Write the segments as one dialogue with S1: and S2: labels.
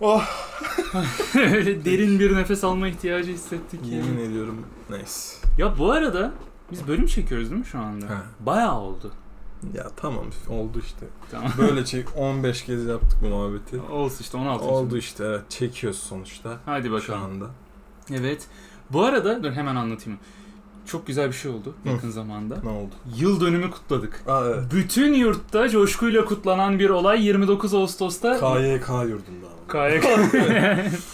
S1: Oh
S2: Öyle derin bir nefes alma ihtiyacı hissettik.
S1: yemin ediyorum. Nice.
S2: Ya bu arada biz bölüm çekiyoruz değil mi şu anda?
S1: Ha.
S2: Bayağı oldu.
S1: Ya tamam oldu işte.
S2: Tamam.
S1: Böyle çek 15 kez yaptık bu muhabbeti.
S2: Olsun işte 16.
S1: Oldu işte evet çekiyoruz sonuçta
S2: Hadi
S1: şu
S2: bakalım.
S1: anda.
S2: Evet. Bu arada dur hemen anlatayım. Çok güzel bir şey oldu
S1: Hı.
S2: yakın zamanda.
S1: Ne oldu?
S2: Yıl dönümü kutladık.
S1: Aa evet.
S2: Bütün yurtta coşkuyla kutlanan bir olay 29 Ağustos'ta
S1: KYK yurdunda ama.
S2: KYK.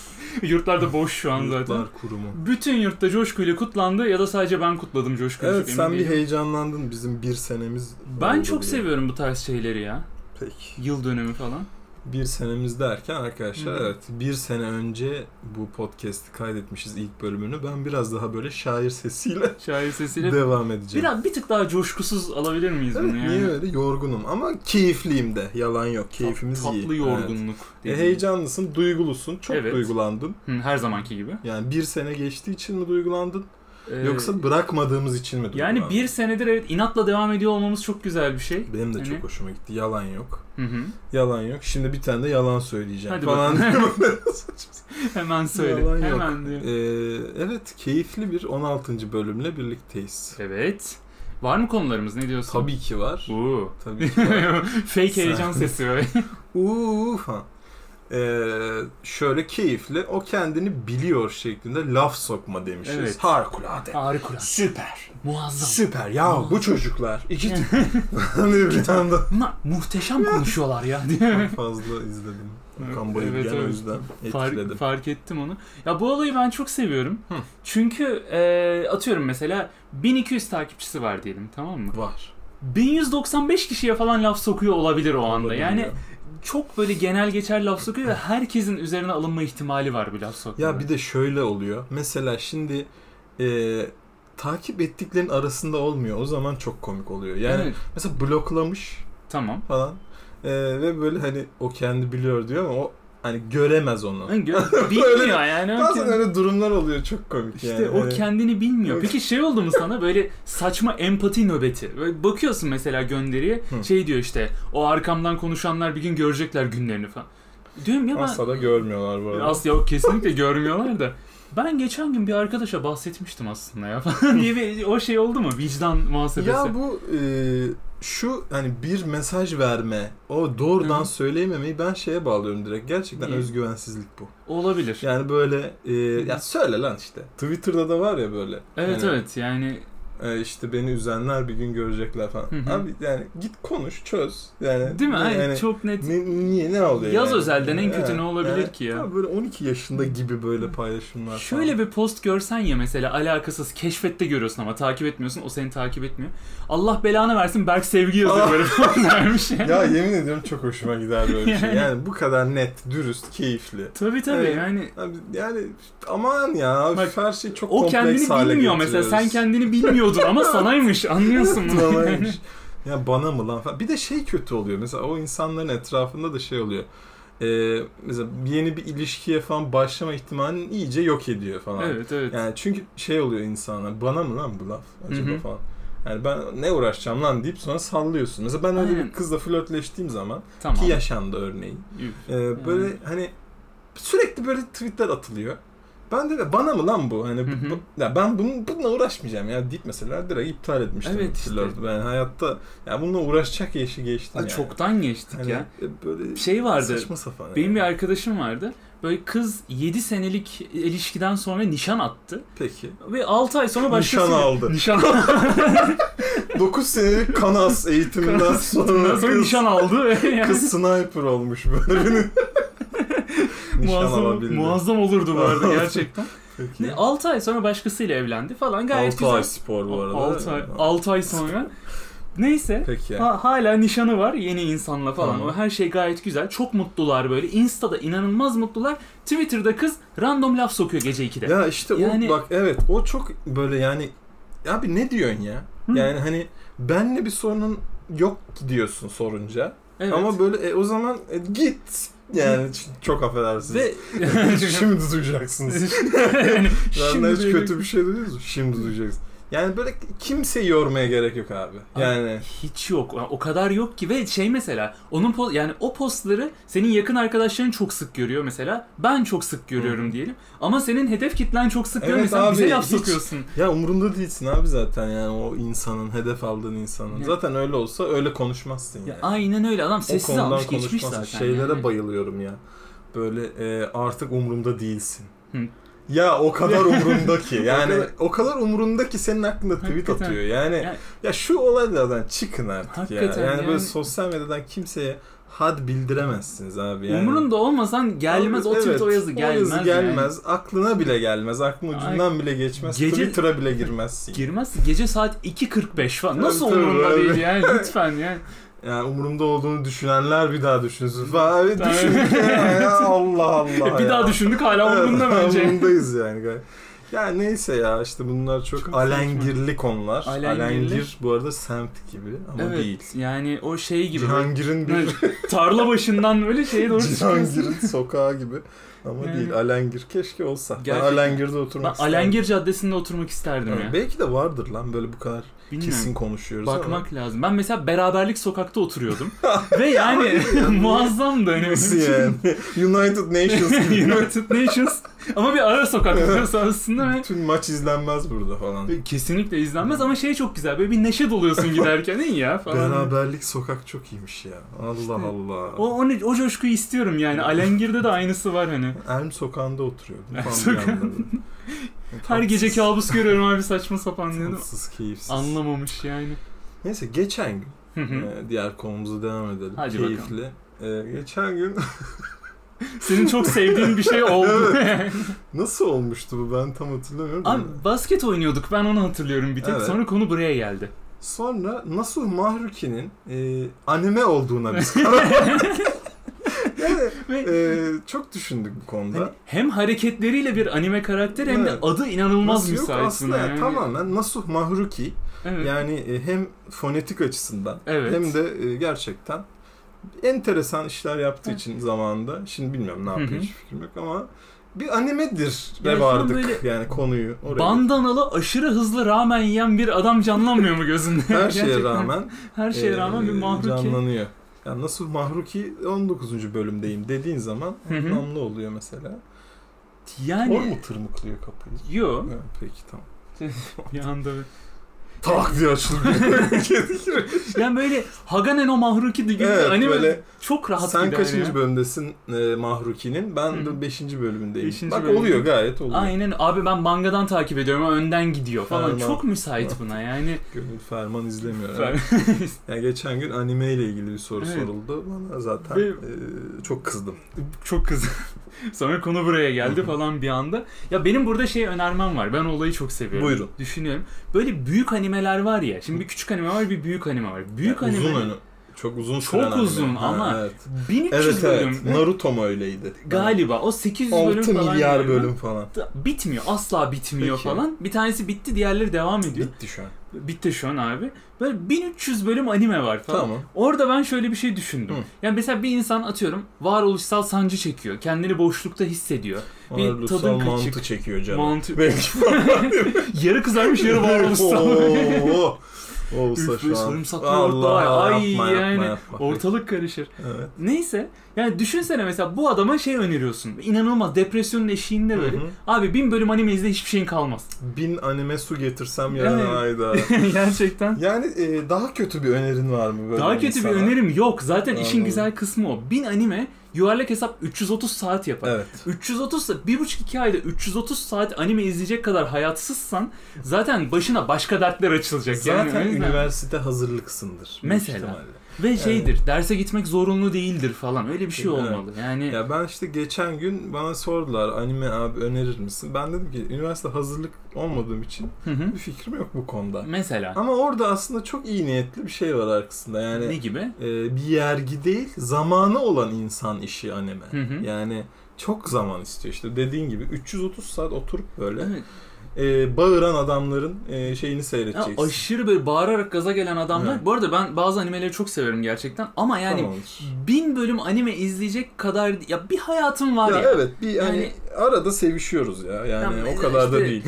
S2: Yurtlar da boş şu an zaten.
S1: Yurtlar Kurumu.
S2: Bütün yurtta coşkuyla kutlandı ya da sadece ben kutladım coşkuyla.
S1: Evet
S2: çok
S1: sen
S2: emin
S1: bir
S2: değilim.
S1: heyecanlandın bizim bir senemiz.
S2: Ben
S1: oldu
S2: çok
S1: diye.
S2: seviyorum bu tarz şeyleri ya.
S1: Peki.
S2: Yıl dönümü falan.
S1: Bir senemiz derken arkadaşlar
S2: Hı.
S1: evet bir sene önce bu podcast'i kaydetmişiz ilk bölümünü. Ben biraz daha böyle şair sesiyle
S2: Şair sesiyle.
S1: devam edeceğim.
S2: Biraz bir tık daha coşkusuz alabilir miyiz
S1: Evet,
S2: bunu yani?
S1: niye öyle? Yorgunum ama keyifliyim de. Yalan yok.
S2: Tat-
S1: Keyfimiz
S2: tatlı
S1: iyi. Evet.
S2: yorgunluk.
S1: E,
S2: dediğim.
S1: heyecanlısın, duygulusun. Çok
S2: Evet.
S1: duygulandın.
S2: Hı, her zamanki gibi.
S1: Yani bir sene geçtiği için mi duygulandın?
S2: Ee,
S1: Yoksa bırakmadığımız için mi duygulandın?
S2: yani bir senedir evet inatla devam ediyor olmamız çok güzel bir şey.
S1: Benim de
S2: Hani-
S1: çok hoşuma gitti. Yalan yok.
S2: Hı hı.
S1: Yalan yok. Şimdi bir tane de yalan söyleyeceğim
S2: Hadi
S1: falan.
S2: bakalım. Hemen söyle.
S1: Yalan yok.
S2: Hemen diyor.
S1: Ee, evet keyifli bir 16. bölümle birlikteyiz.
S2: Evet. Var mı konularımız? Ne diyorsun?
S1: Tabii ki var.
S2: Oo.
S1: Tabii ki var.
S2: Fake heyecan sesi böyle.
S1: Uuu falan. Ee, şöyle keyifli o kendini biliyor şeklinde laf sokma demişiz.
S2: Evet.
S1: Harikulade.
S2: Harikulade.
S1: Süper.
S2: Muazzam.
S1: Süper ya bu çocuklar. iki tane Hani bir tane daha
S2: Bunlar muhteşem konuşuyorlar ya. diye.
S1: fazla izledim.
S2: Evet,
S1: Okan Bayülgen
S2: evet,
S1: o
S2: evet.
S1: yüzden
S2: fark,
S1: etkiledim.
S2: fark ettim onu. Ya bu olayı ben çok seviyorum.
S1: Hı.
S2: Çünkü e, atıyorum mesela 1200 takipçisi var diyelim tamam mı?
S1: Var.
S2: 1195 kişiye falan laf sokuyor olabilir o anda.
S1: Olabilir
S2: Yani
S1: ya.
S2: çok böyle genel geçer laf sokuyor ve herkesin üzerine alınma ihtimali var bu laf sokmada.
S1: Ya bir de şöyle oluyor. Mesela şimdi e, takip ettiklerin arasında olmuyor. O zaman çok komik oluyor. Yani
S2: Evet,
S1: mesela bloklamış
S2: tamam.
S1: falan E, ve böyle hani o kendi biliyor diyor ama o hani göremez onu.
S2: Hani gö- Bilmiyor yani. o
S1: Bazen
S2: kendi-
S1: öyle durumlar oluyor çok komik
S2: İşte
S1: yani.
S2: o
S1: Hani
S2: kendini bilmiyor. Peki şey oldu mu sana böyle saçma empati nöbeti? Böyle bakıyorsun mesela gönderiye
S1: Hı.
S2: şey diyor işte o arkamdan konuşanlar bir gün görecekler günlerini falan. Diyorum ya ben
S1: asla da görmüyorlar bu arada.
S2: Asla yok kesinlikle görmüyorlar da. Ben geçen gün bir arkadaşa bahsetmiştim aslında ya falan diye bir o şey oldu mu? Vicdan muhasebesi.
S1: Ya bu e, şu hani bir mesaj verme, o doğrudan
S2: Hı hı.
S1: söyleyememeyi ben şeye bağlıyorum direkt. Gerçekten
S2: Niye?
S1: özgüvensizlik bu.
S2: Olabilir.
S1: Yani böyle e, ya söyle lan işte. Twitter'da da var ya böyle.
S2: evet
S1: Hani,
S2: evet yani
S1: e, işte beni üzenler bir gün görecekler falan.
S2: Hı hı.
S1: Abi yani git konuş, çöz. Yani
S2: değil mi?
S1: Yani,
S2: Hayır, çok net.
S1: ne, niye ne oluyor?
S2: Yaz
S1: yani?
S2: özelden en kötü
S1: Evet,
S2: ne olabilir
S1: evet.
S2: ki ya?
S1: Abi böyle 12 yaşında gibi böyle paylaşımlar
S2: Şöyle bir post görsen ya mesela alakasız keşfette görüyorsun ama takip etmiyorsun o seni takip etmiyor. Allah belanı versin Berk Sevgi yazıyor
S1: Aa.
S2: böyle falan dermiş yani.
S1: Ya yemin ediyorum çok hoşuma gider böyle bir şey.
S2: Yani.
S1: Yani bu kadar net, dürüst, keyifli.
S2: Tabii tabii
S1: Evet.
S2: yani
S1: Abi yani aman ya
S2: Bak,
S1: her şey çok
S2: o
S1: kompleks hale
S2: kendini bilmiyor mesela sen kendini bilmiyordun ama sanaymış anlıyorsun bunu.
S1: kendini Ya bana mı lan falan. Bir de şey kötü oluyor mesela o insanların etrafında da şey oluyor. Ee, mesela yeni bir ilişkiye falan başlama ihtimalini iyice yok ediyor falan.
S2: evet evet.
S1: Yani çünkü şey oluyor insanlar bana mı lan bu laf acaba
S2: Hı hı.
S1: falan. Yani ben ne uğraşacağım lan deyip sonra sallıyorsun. Mesela ben öyle
S2: Aynen.
S1: bir kızla flörtleştiğim zaman
S2: tamam.
S1: ki yaşandı örneğin.
S2: Üf.
S1: Ee, böyle hani sürekli böyle tweetler atılıyor. Ben de de bana mı lan bu? Hani bu-
S2: Hı hı.
S1: bu- ya ben bunun, bununla uğraşmayacağım ya deyip mesela direkt iptal etmiştim.
S2: Evet işte.
S1: flörtü. Ben hayatta ya bununla uğraşacak yaşı geçtim
S2: Ay,
S1: yani.
S2: Çoktan geçtik
S1: Hani,
S2: ya.
S1: e, böyle
S2: Şey vardı.
S1: saçma sapan.
S2: Benim bir
S1: yani.
S2: arkadaşım vardı. Böyle kız 7 senelik ilişkiden sonra nişan attı.
S1: Peki.
S2: Ve 6 ay sonra başkası...
S1: Nişan aldı.
S2: Nişan
S1: 9 senelik kanas eğitiminden sonra,
S2: Ondan sonra
S1: kız,
S2: nişan aldı. ve yani
S1: kız sniper olmuş böyle. nişan
S2: muazzam,
S1: alabildi.
S2: muazzam olurdu bu arada gerçekten.
S1: Peki.
S2: 6 ay sonra başkasıyla evlendi falan gayet
S1: 6 ay spor bu
S2: güzel.
S1: arada.
S2: 6 ay, 6 ay sonra. Neyse.
S1: Peki.
S2: Ha- hala nişanı var yeni insanla falan.
S1: Tamam.
S2: O her şey gayet güzel. Çok mutlular böyle. Insta'da inanılmaz mutlular. Twitter'da kız random laf sokuyor gece 2'de.
S1: Ya işte
S2: Yani-
S1: o bak evet o çok böyle yani abi ne diyorsun ya?
S2: Hı.
S1: Yani hani benle bir sorunun yok diyorsun sorunca.
S2: evet.
S1: Ama böyle e, o zaman e, git. Yani ç- çok affedersiniz.
S2: Ve
S1: Şimdi duyacaksınız.
S2: Yani
S1: Şimdi hiç
S2: böyle-
S1: kötü bir şey duydunuz mu? Şimdi duyacaksınız. Yani böyle kimseyi yormaya gerek yok abi. Yani
S2: Hiç yok. O kadar yok ki ve şey mesela onun po- yani o postları senin yakın arkadaşların çok sık görüyor mesela. Ben çok sık görüyorum diyelim. Ama senin hedef kitlen çok sık
S1: Evet
S2: görmüyor. Sen bize
S1: abi,
S2: laf
S1: hiç-
S2: sokuyorsun.
S1: ya umurunda değilsin abi zaten yani o insanın hedef aldığın insanın.
S2: Ya.
S1: Zaten öyle olsa öyle konuşmazsın yani.
S2: Ya aynen öyle adam
S1: o
S2: sessiz
S1: konudan
S2: almış geçmiş zaten.
S1: konuşmazsın. Şeylere
S2: yani.
S1: bayılıyorum ya. Böyle e, artık umurumda değilsin.
S2: Hı.
S1: Ya o kadar umurumda ki. Yani
S2: O
S1: o
S2: kadar-
S1: kadar, umurumda ki senin hakkında tweet
S2: Hakikaten.
S1: atıyor. Yani
S2: Ya-
S1: ya, şu olaylardan çıkın artık
S2: Hakikaten
S1: ya. Yani,
S2: yani-
S1: böyle sosyal medyadan kimseye had bildiremezsiniz abi yani.
S2: Umurunda olmasan gelmez o tweet
S1: Evet,
S2: o yazı gelmez. yani.
S1: gelmez. Aklına bile gelmez. Aklın ucundan bile geçmez.
S2: Gece-
S1: Twitter'a bile girmezsin.
S2: Girmez gece saat 2.45 falan. Nasıl
S1: Tabii, tabii,
S2: umurunda değil
S1: abi.
S2: yani lütfen yani.
S1: Yani umurumda olduğunu düşünenler bir daha düşünsün. Falan. Abi
S2: Tabii.
S1: düşündük ya, ya. Allah Allah
S2: bir
S1: ya.
S2: daha düşündük hala
S1: Evet,
S2: umurunda bence.
S1: Umurundayız yani. gayet. Ya neyse ya işte bunlar çok,
S2: Çok
S1: alengirli konular.
S2: Alengirli.
S1: Alengir bu arada semt gibi ama
S2: evet
S1: değil.
S2: yani o şey gibi.
S1: Cihangir'in
S2: böyle
S1: bir
S2: tarla başından böyle şeye doğru çıkıyorsun.
S1: Cihangir'in sokağı gibi ama
S2: Yani-
S1: değil. Alengir keşke olsa.
S2: Gerçekten.
S1: Ben Alengir'de
S2: Ben
S1: oturmak isterdim.
S2: Alengir Caddesi'nde oturmak isterdim
S1: Evet,
S2: ya.
S1: Belki de vardır lan böyle bu kadar
S2: Bilmiyorum.
S1: kesin konuşuyoruz ama.
S2: Bakmak lazım. Ben mesela beraberlik sokakta oturuyordum. Ve yani muazzamdı. Hani
S1: Nasıl
S2: benim için.
S1: yani? United Nations gibi.
S2: United Nations. Ama bir ara sokak biliyorsun aslında ve
S1: Bütün maç izlenmez burada falan.
S2: kesinlikle izlenmez ama şey çok güzel. Böyle bir neşe doluyorsun giderken iyi ya falan.
S1: Beraberlik sokak çok iyiymiş ya. Allah Allah.
S2: O, o, ne- o coşkuyu istiyorum yani. Alengir'de de aynısı var hani.
S1: Elm sokağında oturuyordum.
S2: Elm
S1: Elm
S2: sokağında. Her gece kabus görüyorum abi saçma sapan diyordum.
S1: Tatsız, keyifsiz.
S2: Anlamamış yani.
S1: Neyse geçen gün
S2: Hı hı.
S1: e, diğer konumuza devam edelim.
S2: Hadi
S1: Keyifli. E, geçen gün
S2: Senin çok sevdiğin bir şey oldu.
S1: nasıl olmuştu bu ben tam hatırlamıyorum.
S2: Abi basket oynuyorduk ben onu hatırlıyorum bir tek.
S1: Evet.
S2: Sonra konu buraya geldi.
S1: Sonra Nasuh Mahruki'nin e, anime olduğuna biz karar Yani
S2: Ve
S1: e, çok düşündük bu konuda.
S2: hani hem hareketleriyle bir anime karakter hem de
S1: Evet.
S2: adı inanılmaz
S1: Nasıl yok
S2: müsait.
S1: aslında
S2: buna yani.
S1: tamamen Nasuh Mahruki
S2: Evet.
S1: yani e, hem fonetik açısından
S2: Evet.
S1: hem de e, gerçekten enteresan işler yaptığı için zamanında şimdi bilmiyorum ne
S2: Hı
S1: yapıyor
S2: hı.
S1: hiç fikrim yok ama bir animedir
S2: Yani
S1: ve
S2: şu an
S1: vardık
S2: böyle
S1: yani konuyu oraya.
S2: Bandanalı aşırı hızlı ramen yiyen bir adam canlanmıyor mu gözünde?
S1: her şeye
S2: Gerçekten.
S1: rağmen
S2: Her şeye
S1: e,
S2: rağmen bir mahruki.
S1: canlanıyor. Ya nasıl mahruki 19. bölümdeyim dediğin zaman
S2: Hı hı.
S1: anlamlı oluyor mesela.
S2: Yani
S1: Or mu tırmıklıyor kapıyı?
S2: yo
S1: Ha, peki tamam.
S2: bir anda bir-
S1: Tak diye açılıyor.
S2: Yani böyle Haganen o mahruki gibi
S1: Evet,
S2: anime
S1: böyle
S2: çok rahat
S1: Sen
S2: gider
S1: kaçıncı
S2: ya.
S1: bölümdesin e, Mahruki'nin?
S2: Hı.
S1: Ben de 5. bölümündeyim.
S2: Beşinci
S1: Bak
S2: bölümde.
S1: oluyor gayet oluyor.
S2: Aynen abi ben mangadan takip ediyorum ama önden gidiyor falan.
S1: Ferman.
S2: Çok müsait buna yani.
S1: Gönül Ferman izlemiyor.
S2: Fer-
S1: Yani geçen gün anime ile ilgili bir soru
S2: Evet.
S1: soruldu. Bana zaten
S2: Ve-
S1: e, çok kızdım.
S2: çok kız. Sonra konu buraya geldi
S1: Hı hı.
S2: falan bir anda. Ya benim burada şey önermem var. Ben olayı çok seviyorum.
S1: Buyurun.
S2: Düşünüyorum. Böyle büyük animeler var ya. Şimdi bir küçük anime var, bir büyük anime var. Büyük
S1: Yani
S2: anime
S1: uzun anı- çok uzun
S2: Çok
S1: süren anime.
S2: uzun
S1: Ha,
S2: ama-
S1: evet.
S2: 1300
S1: Evet
S2: bölüm.
S1: evet. Naruto mu öyleydi?
S2: Galiba o 800 bölüm
S1: 6
S2: falan.
S1: milyar
S2: galiba.
S1: bölüm falan.
S2: Da- Bitmiyor. Asla bitmiyor
S1: Peki.
S2: falan. Bir tanesi bitti, diğerleri devam ediyor.
S1: Bitti şu an.
S2: Bitti şu an abi. Böyle 1300 bölüm anime var falan.
S1: Tamam.
S2: Orada ben şöyle bir şey düşündüm.
S1: Hı.
S2: Yani mesela bir insan atıyorum varoluşsal sancı çekiyor. Kendini boşlukta hissediyor. Bir
S1: Varoluşsal
S2: tadın kaçık.
S1: mantı çekiyor canım.
S2: Mantı-
S1: Belki
S2: yarı kızarmış yarı varoluşsal.
S1: Oo, Olsa
S2: Üf,
S1: şu an.
S2: sarımsaklı
S1: Allah,
S2: yoğurtlar. Ay
S1: yapma, yapma,
S2: yani
S1: yapma.
S2: ortalık karışır.
S1: Evet.
S2: Neyse yani düşünsene mesela bu adama şey öneriyorsun. İnanılmaz depresyonun eşiğinde böyle.
S1: Hı hı.
S2: Abi bin bölüm anime izle hiçbir şeyin kalmaz.
S1: Bin anime su getirsem yarın
S2: Evet.
S1: ayda.
S2: Gerçekten.
S1: Yani e, daha kötü bir önerin var mı böyle
S2: Daha kötü
S1: insana?
S2: bir önerim yok. Zaten işin
S1: Anladım.
S2: güzel kısmı o. Bin anime yuvarlak hesap 330 saat yapar.
S1: Evet.
S2: 330 saat, bir buçuk iki ayda 330 saat anime izleyecek kadar hayatsızsan zaten başına başka dertler açılacak.
S1: Zaten
S2: yani. O yüzden-
S1: üniversite hazırlıksındır. büyük
S2: Mesela.
S1: ihtimalle.
S2: Ve şeydir, derse gitmek zorunlu değildir falan. Öyle bir şey
S1: Evet.
S2: olmalı. Yani
S1: Ya ben işte geçen gün bana sordular anime abi önerir misin? Ben dedim ki üniversite hazırlık olmadığım için
S2: Hı hı.
S1: bir fikrim yok bu konuda.
S2: mesela
S1: Ama orada aslında çok iyi niyetli bir şey var arkasında. Yani
S2: ne gibi?
S1: e, bir yergi değil zamanı olan insan işi anime.
S2: Hı hı.
S1: Yani çok zaman istiyor işte dediğin gibi 330 saat oturup böyle
S2: Evet.
S1: e, bağıran adamların e, şeyini
S2: Ya
S1: seyredeceksin.
S2: aşırı böyle bağırarak gaza gelen adamlar.
S1: Evet.
S2: Bu arada ben bazı animeleri çok severim gerçekten. Ama yani
S1: Tamamdır.
S2: bin bölüm anime izleyecek kadar ya bir hayatım var ya.
S1: Ya evet bir
S2: Yani-
S1: yani, arada sevişiyoruz ya. Yani
S2: Tamam,
S1: o kadar da
S2: işte-
S1: değil.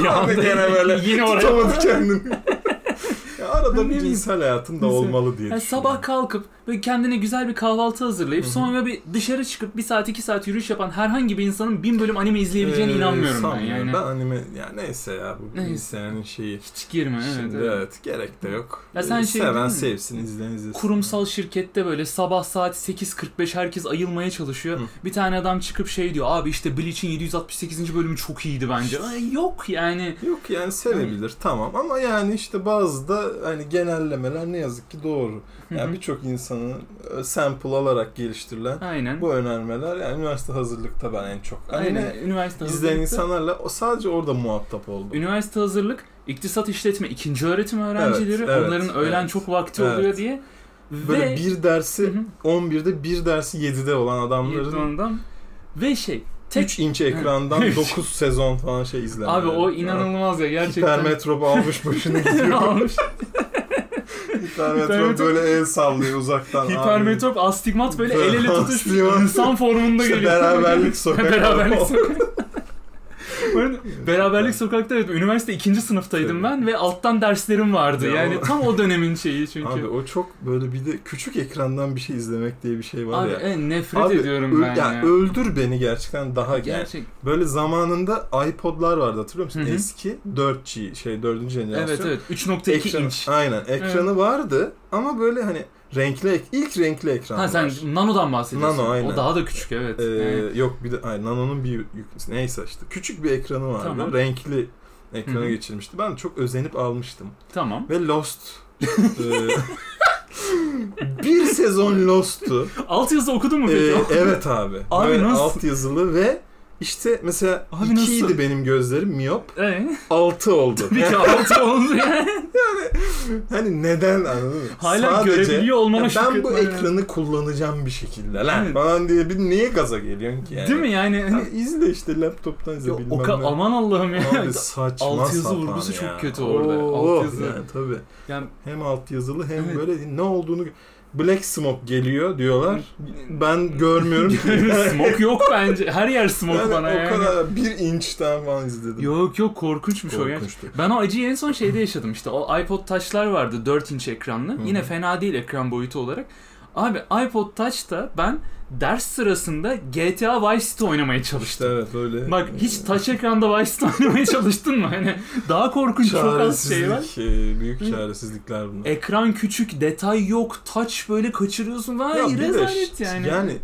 S2: bir
S1: Abi gene böyle
S2: yine oraya.
S1: tutamadı kendini. ya
S2: Ne
S1: arada bir
S2: bileyim.
S1: cinsel hayatın da
S2: Mesela-
S1: olmalı diye
S2: Yani
S1: düşünüyorum.
S2: sabah kalkıp böyle kendine güzel bir kahvaltı hazırlayıp sonra bir dışarı çıkıp bir saat iki saat yürüyüş yapan herhangi bir insanın bin bölüm anime izleyebileceğine
S1: Ee,
S2: inanmıyorum ben
S1: sanmıyorum.
S2: yani.
S1: Ben anime ya neyse ya bu
S2: Neyse.
S1: insanın şeyi.
S2: Hiç girme evet.
S1: Şimdi
S2: evet.
S1: evet. gerek de yok.
S2: Ya sen
S1: Ee,
S2: şey değil
S1: Seven
S2: mi?
S1: sevsin izleyen izlesin.
S2: Kurumsal şirkette böyle sabah saat 8.45 herkes ayılmaya çalışıyor.
S1: Hı.
S2: Bir tane adam çıkıp şey diyor abi işte Bleach'in 768. bölümü çok iyiydi bence. Ay, yok yani.
S1: Yok yani sevebilir tamam ama yani işte bazı da hani genellemeler ne yazık ki doğru. Yani birçok insanın e, sample alarak geliştirilen
S2: Aynen.
S1: bu önermeler yani üniversite hazırlıkta ben en çok.
S2: Aynen.
S1: Anime
S2: Üniversite
S1: izleyen
S2: hazırlıkta-
S1: insanlarla o sadece orada muhatap oldum.
S2: Üniversite hazırlık, iktisat işletme ikinci öğretim öğrencileri
S1: Evet, evet,
S2: onların öğlen
S1: evet.
S2: çok vakti
S1: Evet.
S2: oluyor diye. Ve
S1: Böyle bir dersi
S2: Hı hı.
S1: 11'de bir dersi 7'de olan adamların
S2: Yıldırım'dan. ve şey tek
S1: 3 inç ekrandan 9 sezon falan şey izlenmeleri.
S2: abi o inanılmaz ya gerçekten.
S1: Hipermetrop almış başını gidiyor.
S2: Almış.
S1: Hipermetrop
S2: Hipermetrop-
S1: böyle el sallıyor uzaktan. Abi.
S2: Hipermetrop, astigmat böyle
S1: Böyle
S2: el ele tutuşmuş
S1: astigmat.
S2: insan formunda
S1: İşte
S2: geliyor.
S1: beraberlik sokak.
S2: beraberlik sokak. Bu arada Beraberlik sokakta evet üniversite ikinci sınıftaydım
S1: Tabii.
S2: ben ve alttan derslerim vardı.
S1: Ya
S2: Yani
S1: o-
S2: tam o dönemin şeyi çünkü.
S1: Abi o çok böyle bir de küçük ekrandan bir şey izlemek diye bir şey var
S2: Abi,
S1: ya.
S2: en nefret
S1: Abi, öl-
S2: ediyorum ben
S1: yani
S2: ya.
S1: öldür beni gerçekten daha yani
S2: Gerçek.
S1: böyle zamanında iPod'lar vardı hatırlıyor musun?
S2: Hı hı.
S1: Eski 4G şey 4. jenerasyon.
S2: Evet evet 3.2
S1: Ekranı-
S2: inç.
S1: Aynen ekranı vardı ama böyle hani renkli ek- ilk renkli ekran.
S2: Ha sen
S1: var.
S2: nanodan bahsediyorsun.
S1: Nano, aynen.
S2: O daha da küçük evet.
S1: Ee,
S2: Evet.
S1: Yok bir de ay, Nano'nun bir yük- neyse işte küçük bir ekranı vardı.
S2: Tamam.
S1: Renkli ekrana
S2: Hı hı.
S1: geçirmişti. Ben çok özenip almıştım.
S2: Tamam.
S1: Ve Lost. ee, bir sezon Lost'tu.
S2: Alt yazı okudun mu peki?
S1: Ee, evet abi.
S2: Abi
S1: Böyle
S2: nasıl?
S1: alt yazılı ve işte mesela
S2: Abi
S1: 2'ydi
S2: nasıl?
S1: benim gözlerim miyop.
S2: Ee,
S1: 6 oldu.
S2: bir ki altı oldu yani.
S1: Hani neden anladın mı?
S2: Hala
S1: Sadece-
S2: görebiliyor olmama
S1: Ya ben bu
S2: şükretmem yani.
S1: ekranı kullanacağım bir şekilde lan
S2: Evet.
S1: falan diye bir niye gaza geliyorsun ki yani?
S2: Değil mi yani?
S1: Ya
S2: Hani,
S1: izle işte laptoptan izle
S2: Yo,
S1: bilmem
S2: o ka-
S1: ne.
S2: aman Allah'ım ya.
S1: Abi saçma
S2: Altyazı
S1: sapan
S2: vurgusu
S1: ya.
S2: çok kötü orada.
S1: Oo,
S2: Altyazı-
S1: Yani, tabii.
S2: Yani
S1: Hem altyazılı hem
S2: Evet.
S1: böyle ne olduğunu... Black Smoke geliyor diyorlar. Ben görmüyorum ki.
S2: smoke yok bence. Her yer smoke
S1: Yani
S2: bana
S1: o
S2: yani.
S1: kadar bir inçten falan izledim.
S2: Yok yok korkunçmuş o ya.
S1: Korkunçtu.
S2: Ben o acıyı en son şeyde yaşadım işte. O iPod Touch'lar vardı 4 inç ekranlı.
S1: Hı hı.
S2: Yine fena değil ekran boyutu olarak. Abi iPod Touch'ta ben ders sırasında GTA Vice City oynamaya
S1: İşte
S2: çalıştım.
S1: evet öyle.
S2: Bak hiç touch ekranda Vice City oynamaya çalıştın mı? Hani daha korkunç çok az şey var.
S1: Çaresizlik, e, büyük
S2: Hı. E,
S1: çaresizlikler bunlar.
S2: Ekran küçük, detay yok, touch böyle kaçırıyorsun falan.
S1: Ya
S2: Ya,
S1: bir de
S2: rezalet
S1: ş-
S2: yani.
S1: Yani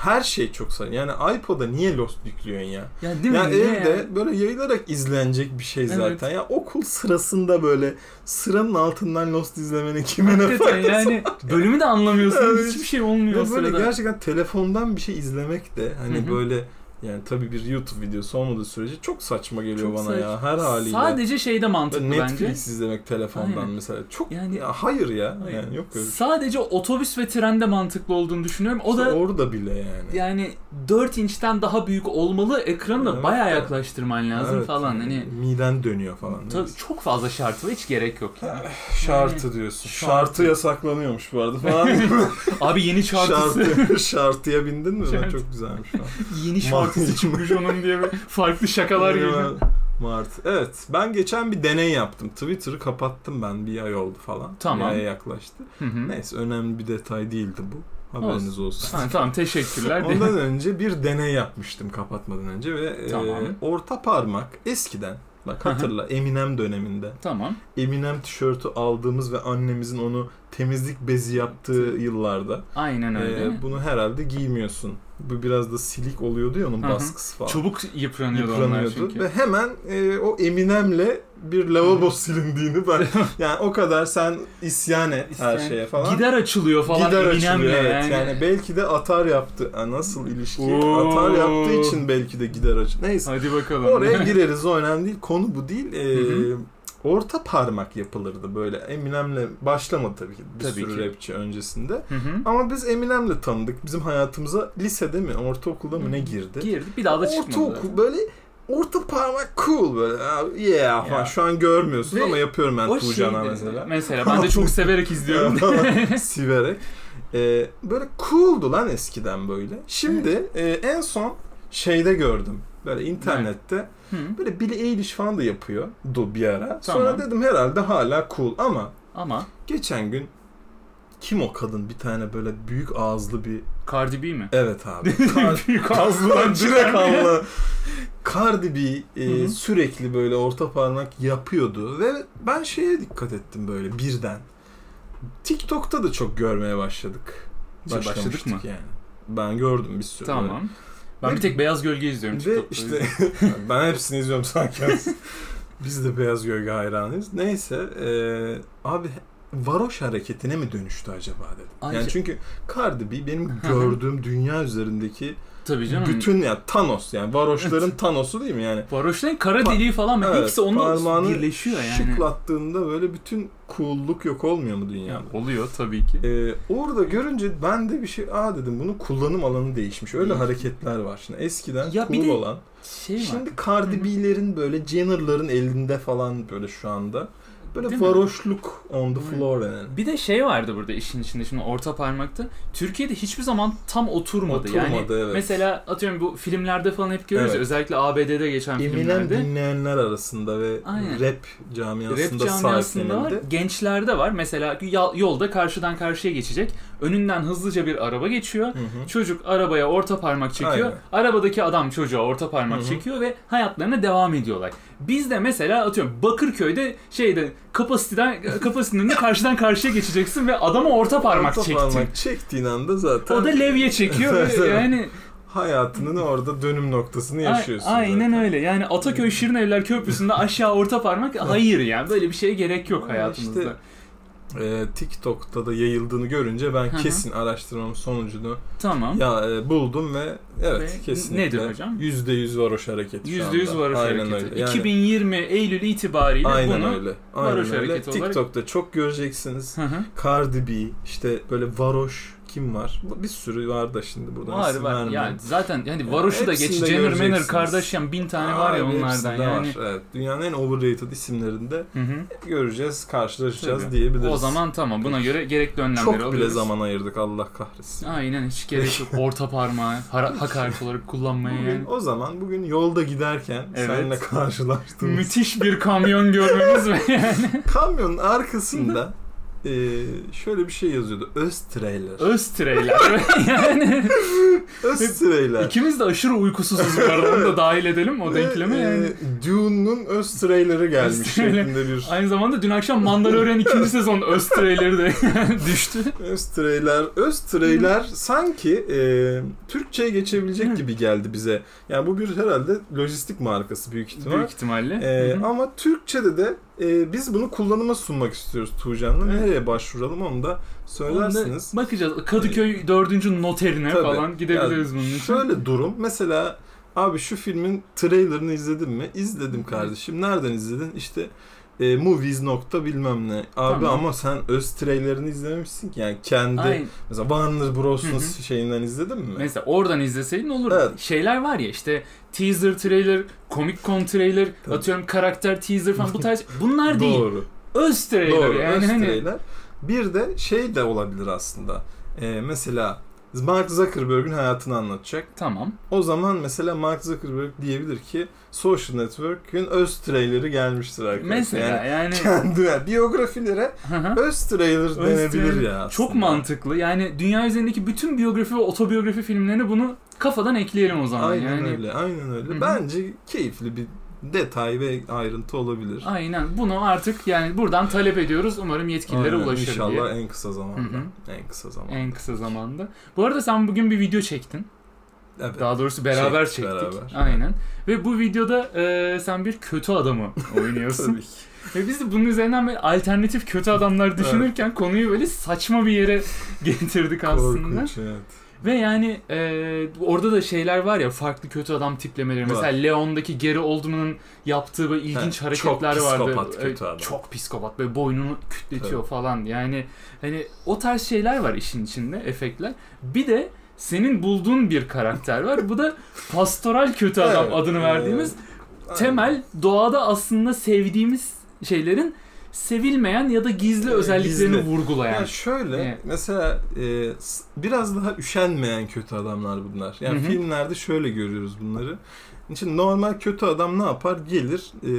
S1: her şey çok saçma. Yani iPod'a niye Lost yüklüyorsun ya?
S2: ya değil mi?
S1: ya
S2: Ne
S1: evde
S2: ya?
S1: böyle yayılarak izlenecek bir şey
S2: Evet.
S1: zaten. Ya okul sırasında böyle sıranın altından Lost izlemenin kime ne
S2: Hakikaten
S1: faydası?
S2: yani bölümü de anlamıyorsun.
S1: Evet.
S2: Hiçbir şey
S1: Ve
S2: olmuyor o
S1: böyle
S2: sırada.
S1: gerçekten telefondan bir şey izlemek de hani
S2: Hı hı.
S1: böyle yani tabii bir YouTube videosu olmadığı sürece çok saçma geliyor
S2: Çok
S1: bana
S2: saçma.
S1: ya her haliyle.
S2: Sadece şeyde mantıklı
S1: Böyle Netflix
S2: bence.
S1: izlemek telefondan
S2: Aynen.
S1: mesela çok
S2: Yani-
S1: ya hayır ya
S2: Hayır.
S1: yani yok öyle. bir şey.
S2: Sadece otobüs ve trende mantıklı olduğunu düşünüyorum. O
S1: İşte
S2: da
S1: orada bile yani.
S2: yani 4 inçten daha büyük olmalı. Ekranı da
S1: Evet,
S2: bayağı
S1: evet.
S2: yaklaştırman lazım
S1: Evet,
S2: falan. Hani
S1: miden dönüyor falan. Ah,
S2: tabii çok fazla şartı var, hiç gerek yok yani.
S1: Şartı diyorsun. Şartı.
S2: Şartı.
S1: yasaklanıyormuş bu arada falan.
S2: Abi yeni şartısı,
S1: Şartı, şartıya bindin mi? Ben
S2: Şart.
S1: çok güzelmiş falan.
S2: yeni şartısı çıkmış onun diye böyle farklı şakalar geliyor.
S1: Mart. Evet. Ben geçen bir deney yaptım. Twitter'ı kapattım ben. Bir ay oldu falan.
S2: Tamam.
S1: Bir aya yaklaştı.
S2: Hı hı.
S1: Neyse önemli bir detay değildi bu. Haberiniz olsun.
S2: Ha, tamam teşekkürler.
S1: Ondan önce bir deney yapmıştım kapatmadan önce ve e,
S2: Tamam.
S1: orta parmak eskiden bak
S2: Hı hı.
S1: hatırla Eminem döneminde
S2: Tamam.
S1: Eminem tişörtü aldığımız ve annemizin onu temizlik bezi yaptığı yıllarda.
S2: Aynen öyle.
S1: Ee, bunu herhalde giymiyorsun. Bu biraz da silik oluyordu ya onun
S2: Hı hı.
S1: baskısı falan.
S2: Çabuk yıpranıyordu, onlar
S1: yıpranıyordu
S2: çünkü.
S1: ve hemen e, o Eminem'le bir lavabo silindiğini ben yani o kadar sen isyan et her
S2: İsteyen-
S1: şeye falan.
S2: Gider açılıyor falan
S1: Gider
S2: Eminem'le
S1: açılıyor, evet.
S2: yani.
S1: yani. belki de atar yaptı. Ha, nasıl ilişki?
S2: Oo.
S1: Atar yaptığı için belki de gider açıldı. Neyse.
S2: Hadi bakalım.
S1: Oraya gireriz o önemli değil. Konu bu değil. Ee,
S2: Hı hı.
S1: orta parmak yapılırdı böyle. Eminem'le başlamadı tabii ki. Bir
S2: Tabii
S1: sürü
S2: ki.
S1: rapçi öncesinde.
S2: Hı hı.
S1: Ama biz Eminem'le tanıdık. Bizim hayatımıza lisede mi, ortaokulda mı ne girdi?
S2: Girdik bir daha da çıkmadı.
S1: Ortaokul böyle orta parmak cool böyle. "Aa, Yeah falan.
S2: Ya.
S1: Şu an görmüyorsun
S2: Ve
S1: ama yapıyorum ben
S2: O
S1: Tuğcan'a
S2: şeydi.
S1: mesela.
S2: Mesela ben de çok severek izliyorum.
S1: Siverek. Ee, böyle cool'du lan eskiden böyle. Şimdi e, en son şeyde gördüm. Böyle internette.
S2: Hı.
S1: Böyle Billie Eilish falan da yapıyor. Du bir ara. Sonra
S2: Tamam.
S1: dedim herhalde hala cool ama
S2: Ama
S1: geçen gün kim o kadın bir tane böyle büyük ağızlı bir
S2: Cardi B mi?
S1: evet abi. Kar-
S2: Büyük ağzından
S1: Direkt
S2: çıkan bir-
S1: Allah. Cardi B e,
S2: Hı hı.
S1: sürekli böyle orta parmak yapıyordu ve ben şeye dikkat ettim böyle birden. TikTok'ta da çok görmeye başladık.
S2: Başladık
S1: Başlamıştık Yani. Ben gördüm bir sürü. böyle.
S2: Tamam. Ben
S1: Ve-
S2: bir tek beyaz gölge izliyorum
S1: Ve
S2: TikTok'ta.
S1: işte ben hepsini izliyorum sanki. Biz de Beyaz Gölge hayranıyız. Neyse e, abi varoş hareketine mi dönüştü acaba dedim.
S2: Ayrıca-
S1: Yani çünkü Cardi B benim
S2: şey- Hı hı.
S1: gördüğüm dünya üzerindeki
S2: Tabii canım. Bütün
S1: bütün ya Thanos yani varoşların Thanos'u değil mi yani?
S2: Varoşların kara
S1: Pa-
S2: deliği falan mı?
S1: Evet,
S2: Hepsi onunla
S1: parmağını
S2: birleşiyor yani.
S1: Şıklattığında böyle bütün cool'luk yok olmuyor mu
S2: Yani
S1: dünyada?
S2: Oluyor tabii ki.
S1: Ee, orada görünce ben de bir şey aa dedim bunun kullanım alanı değişmiş. Öyle
S2: Hı.
S1: hareketler var şimdi. Eskiden
S2: Ya bir
S1: cool
S2: de
S1: olan.
S2: Şey var.
S1: Şimdi Cardi B'lerin böyle Jenner'ların elinde falan böyle şu anda. Böyle
S2: Değil mi?
S1: varoşluk on the floor yani.
S2: Bir de şey vardı burada işin içinde şimdi orta parmakta. Türkiye'de hiçbir zaman tam oturmadı. yani
S1: Oturmadı, evet.
S2: mesela atıyorum bu filmlerde falan hep görüyoruz. ya,
S1: Evet.
S2: Özellikle ABD'de geçen
S1: Eminem
S2: filmlerde.
S1: dinleyenler arasında ve
S2: Aynen.
S1: rap
S2: Rap
S1: camiasında
S2: camiasında var.
S1: sahiplenildi.
S2: Gençlerde var. Mesela ya- yolda karşıdan karşıya geçecek. Önünden hızlıca bir araba geçiyor.
S1: Hı hı.
S2: Çocuk arabaya orta parmak çekiyor.
S1: Aynen.
S2: Arabadaki adam çocuğa orta parmak
S1: Hı hı.
S2: çekiyor ve hayatlarına devam ediyorlar. Biz de mesela atıyorum Bakırköy'de şeyde kapasiteden kapasitenin önünde karşıdan karşıya geçeceksin ve adama orta parmak
S1: Orta
S2: çektin.
S1: parmak çektiğin anda zaten
S2: O da levye çekiyor
S1: Evet,
S2: ve
S1: evet.
S2: yani
S1: hayatının orada dönüm noktasını
S2: a-
S1: yaşıyorsun.
S2: aynen
S1: zaten.
S2: öyle. Yani Ataköy Şirinevler Köprüsü'nde aşağı orta parmak hayır yani böyle bir şeye gerek yok
S1: Yani
S2: hayatımızda.
S1: işte- Ee, TikTok'ta da yayıldığını görünce ben
S2: Hı hı.
S1: kesin araştırmamın sonucunu
S2: Tamam.
S1: ya e, buldum ve evet
S2: Ve
S1: kesinlikle.
S2: nedir hocam?
S1: %100 varoş hareketi şu
S2: %100
S1: anda.
S2: varoş
S1: Aynen
S2: hareketi.
S1: Öyle. Yani-
S2: 2020 Eylül itibariyle
S1: Aynen
S2: bunu
S1: öyle.
S2: varoş
S1: Aynen öyle.
S2: hareketi olarak-
S1: TikTok'ta çok göreceksiniz.
S2: Hı hı.
S1: Cardi B, işte böyle varoş kim var? Bu- Bir sürü var da şimdi buradan
S2: var
S1: isim
S2: var.
S1: vermeyeyim.
S2: Yani zaten yani varoşu da geç.
S1: Hepsini de
S2: Jenner Manner
S1: göreceksiniz.
S2: Kardashian bin tane var ya
S1: Abi
S2: onlardan
S1: hepsinde
S2: yani.
S1: Var. Evet, dünyanın en overrated isimlerinde
S2: Hı hı.
S1: göreceğiz, karşılaşacağız
S2: Tabii.
S1: diyebiliriz.
S2: O zaman tamam buna göre gerekli önlemleri
S1: çok bile
S2: alıyoruz.
S1: zaman ayırdık Allah kahretsin.
S2: Aynen hiç gerek yok. Orta parmağı hara- hakaret olarak kullanmaya
S1: Bugün,
S2: yani.
S1: o zaman bugün yolda giderken
S2: Evet.
S1: seninle karşılaştığımız
S2: Müthiş bir kamyon görmemiz ve yani.
S1: kamyonun arkasında e, şöyle bir şey yazıyordu. Öztreyler.
S2: Öz treyler. yani
S1: Öztreyler.
S2: ikimiz de aşırı uykusuzuz bu arada. Onu da dahil edelim mi o
S1: Ve,
S2: denkleme
S1: e,
S2: yani.
S1: Dune'un öz trailer'ı gelmiş
S2: Öz trailer.
S1: şeklinde bir.
S2: Aynı zamanda dün akşam Mandalorian ikinci sezon öz treyleri de düştü.
S1: Öz trailer. Öz trailer sanki e, Türkçe'ye geçebilecek
S2: Hı.
S1: gibi geldi bize. Yani bu bir herhalde lojistik markası büyük ihtimal.
S2: Büyük ihtimalle.
S1: E,
S2: Hı hı.
S1: ama Türkçe'de de e, biz bunu kullanıma sunmak istiyoruz Tuğcan'la.
S2: Evet.
S1: Nereye başvuralım onu da söylersiniz.
S2: Onda bakacağız. Kadıköy 4. noterine
S1: Tabii.
S2: falan gidebiliriz bunun için.
S1: Şöyle durum. Mesela abi şu filmin trailerını izledin mi? İzledim kardeşim. Nereden izledin? İşte e, movies nokta bilmem ne. Abi
S2: Tamam.
S1: ama sen öz trailerini izlememişsin ki. Yani kendi
S2: Aynen.
S1: mesela Warner Bros'un
S2: Hı hı.
S1: şeyinden izledin mi?
S2: Mesela oradan izleseydin olur.
S1: Evet.
S2: Şeyler var ya işte teaser trailer, Comic Con trailer,
S1: Tabii.
S2: atıyorum karakter teaser falan bu tarz. Bunlar değil.
S1: Doğru.
S2: Öz trailer
S1: Doğru.
S2: yani
S1: öz
S2: hani
S1: trailer. Bir de şey de olabilir aslında. E, mesela Mark Zuckerberg'ün hayatını anlatacak.
S2: tamam.
S1: O zaman mesela Mark Zuckerberg diyebilir ki Social Network'ün öz trailer'i gelmiştir arkadaşlar.
S2: Mesela yani,
S1: kendi yani biyografilere
S2: Hı hı.
S1: öz trailer denebilir
S2: trailer.
S1: ya. aslında.
S2: çok mantıklı. Yani dünya üzerindeki bütün biyografi ve otobiyografi filmlerine bunu kafadan ekleyelim o zaman.
S1: Aynen
S2: yani
S1: öyle, aynen öyle.
S2: Hı hı.
S1: Bence keyifli bir detay ve ayrıntı olabilir.
S2: Aynen. Bunu artık yani buradan talep ediyoruz. Umarım yetkililere
S1: Aynen,
S2: ulaşır
S1: İnşallah
S2: diye.
S1: en kısa zamanda.
S2: Hı
S1: En kısa zamanda.
S2: En kısa zamanda. Bu arada sen bugün bir video çektin.
S1: Evet.
S2: Daha doğrusu beraber
S1: Çektik,
S2: çektik.
S1: beraber.
S2: Aynen. Ve bu videoda e, sen bir kötü adamı oynuyorsun.
S1: Tabii ki.
S2: Ve biz de bunun üzerinden böyle alternatif kötü adamlar düşünürken konuyu böyle saçma bir yere getirdik aslında.
S1: Korkunç evet.
S2: Ve yani e, orada da şeyler var ya farklı kötü adam tiplemeleri. Mesela
S1: Var.
S2: Leon'daki Gary Oldman'ın yaptığı böyle ilginç
S1: Ha,
S2: hareketler
S1: çok
S2: vardı.
S1: psikopat kötü
S2: E,
S1: adam.
S2: Çok psikopat böyle boynunu kütletiyor falan. Yani hani o tarz şeyler var işin içinde efektler. Bir de senin bulduğun bir karakter var. Bu da pastoral kötü adam
S1: Evet,
S2: adını
S1: e,
S2: verdiğimiz
S1: aynen.
S2: temel doğada aslında sevdiğimiz şeylerin sevilmeyen ya da gizli özelliklerini
S1: gizli.
S2: vurgulayan.
S1: Yani şöyle
S2: Evet.
S1: mesela e, s- biraz daha üşenmeyen kötü adamlar bunlar. Yani
S2: Hı hı.
S1: filmlerde şöyle görüyoruz bunları. Şimdi normal kötü adam ne yapar? Gelir e,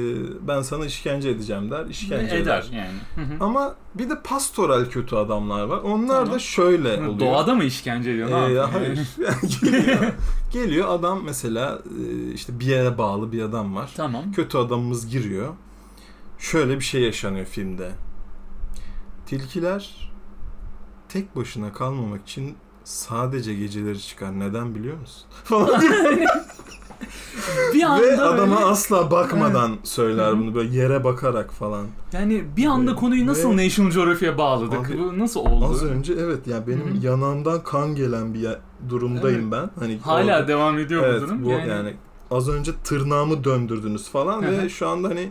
S1: ben sana işkence edeceğim der.
S2: Ve
S1: işkence
S2: eder
S1: eder.
S2: yani. Hı hı.
S1: Ama bir de pastoral kötü adamlar var. Onlar
S2: Tamam.
S1: da şöyle oluyor.
S2: Doğada mı işkence ediyor? ne
S1: Ee,
S2: yapıyor?
S1: hayır. geliyor, geliyor adam mesela e, işte bir yere bağlı bir adam var.
S2: Tamam.
S1: Kötü adamımız giriyor. Şöyle bir şey yaşanıyor filmde. Tilkiler tek başına kalmamak için sadece geceleri çıkar. Neden biliyor musun? Falan diyor.
S2: Bir anda
S1: Ve adama
S2: böyle-
S1: asla bakmadan söyler bunu. Böyle yere bakarak falan.
S2: yani bir anda
S1: Ve-
S2: konuyu nasıl
S1: ve-
S2: National Geography'e bağladık?
S1: Abi,
S2: Bu nasıl oldu?
S1: Az önce evet yani benim
S2: Hı hı.
S1: yanağımdan kan gelen bir ya- durumdayım ben. Hani
S2: Hala
S1: orada-
S2: devam ediyor
S1: Evet
S2: bu durum.
S1: bu yani... az önce tırnağımı döndürdünüz falan
S2: Hı hı.
S1: ve şu anda hani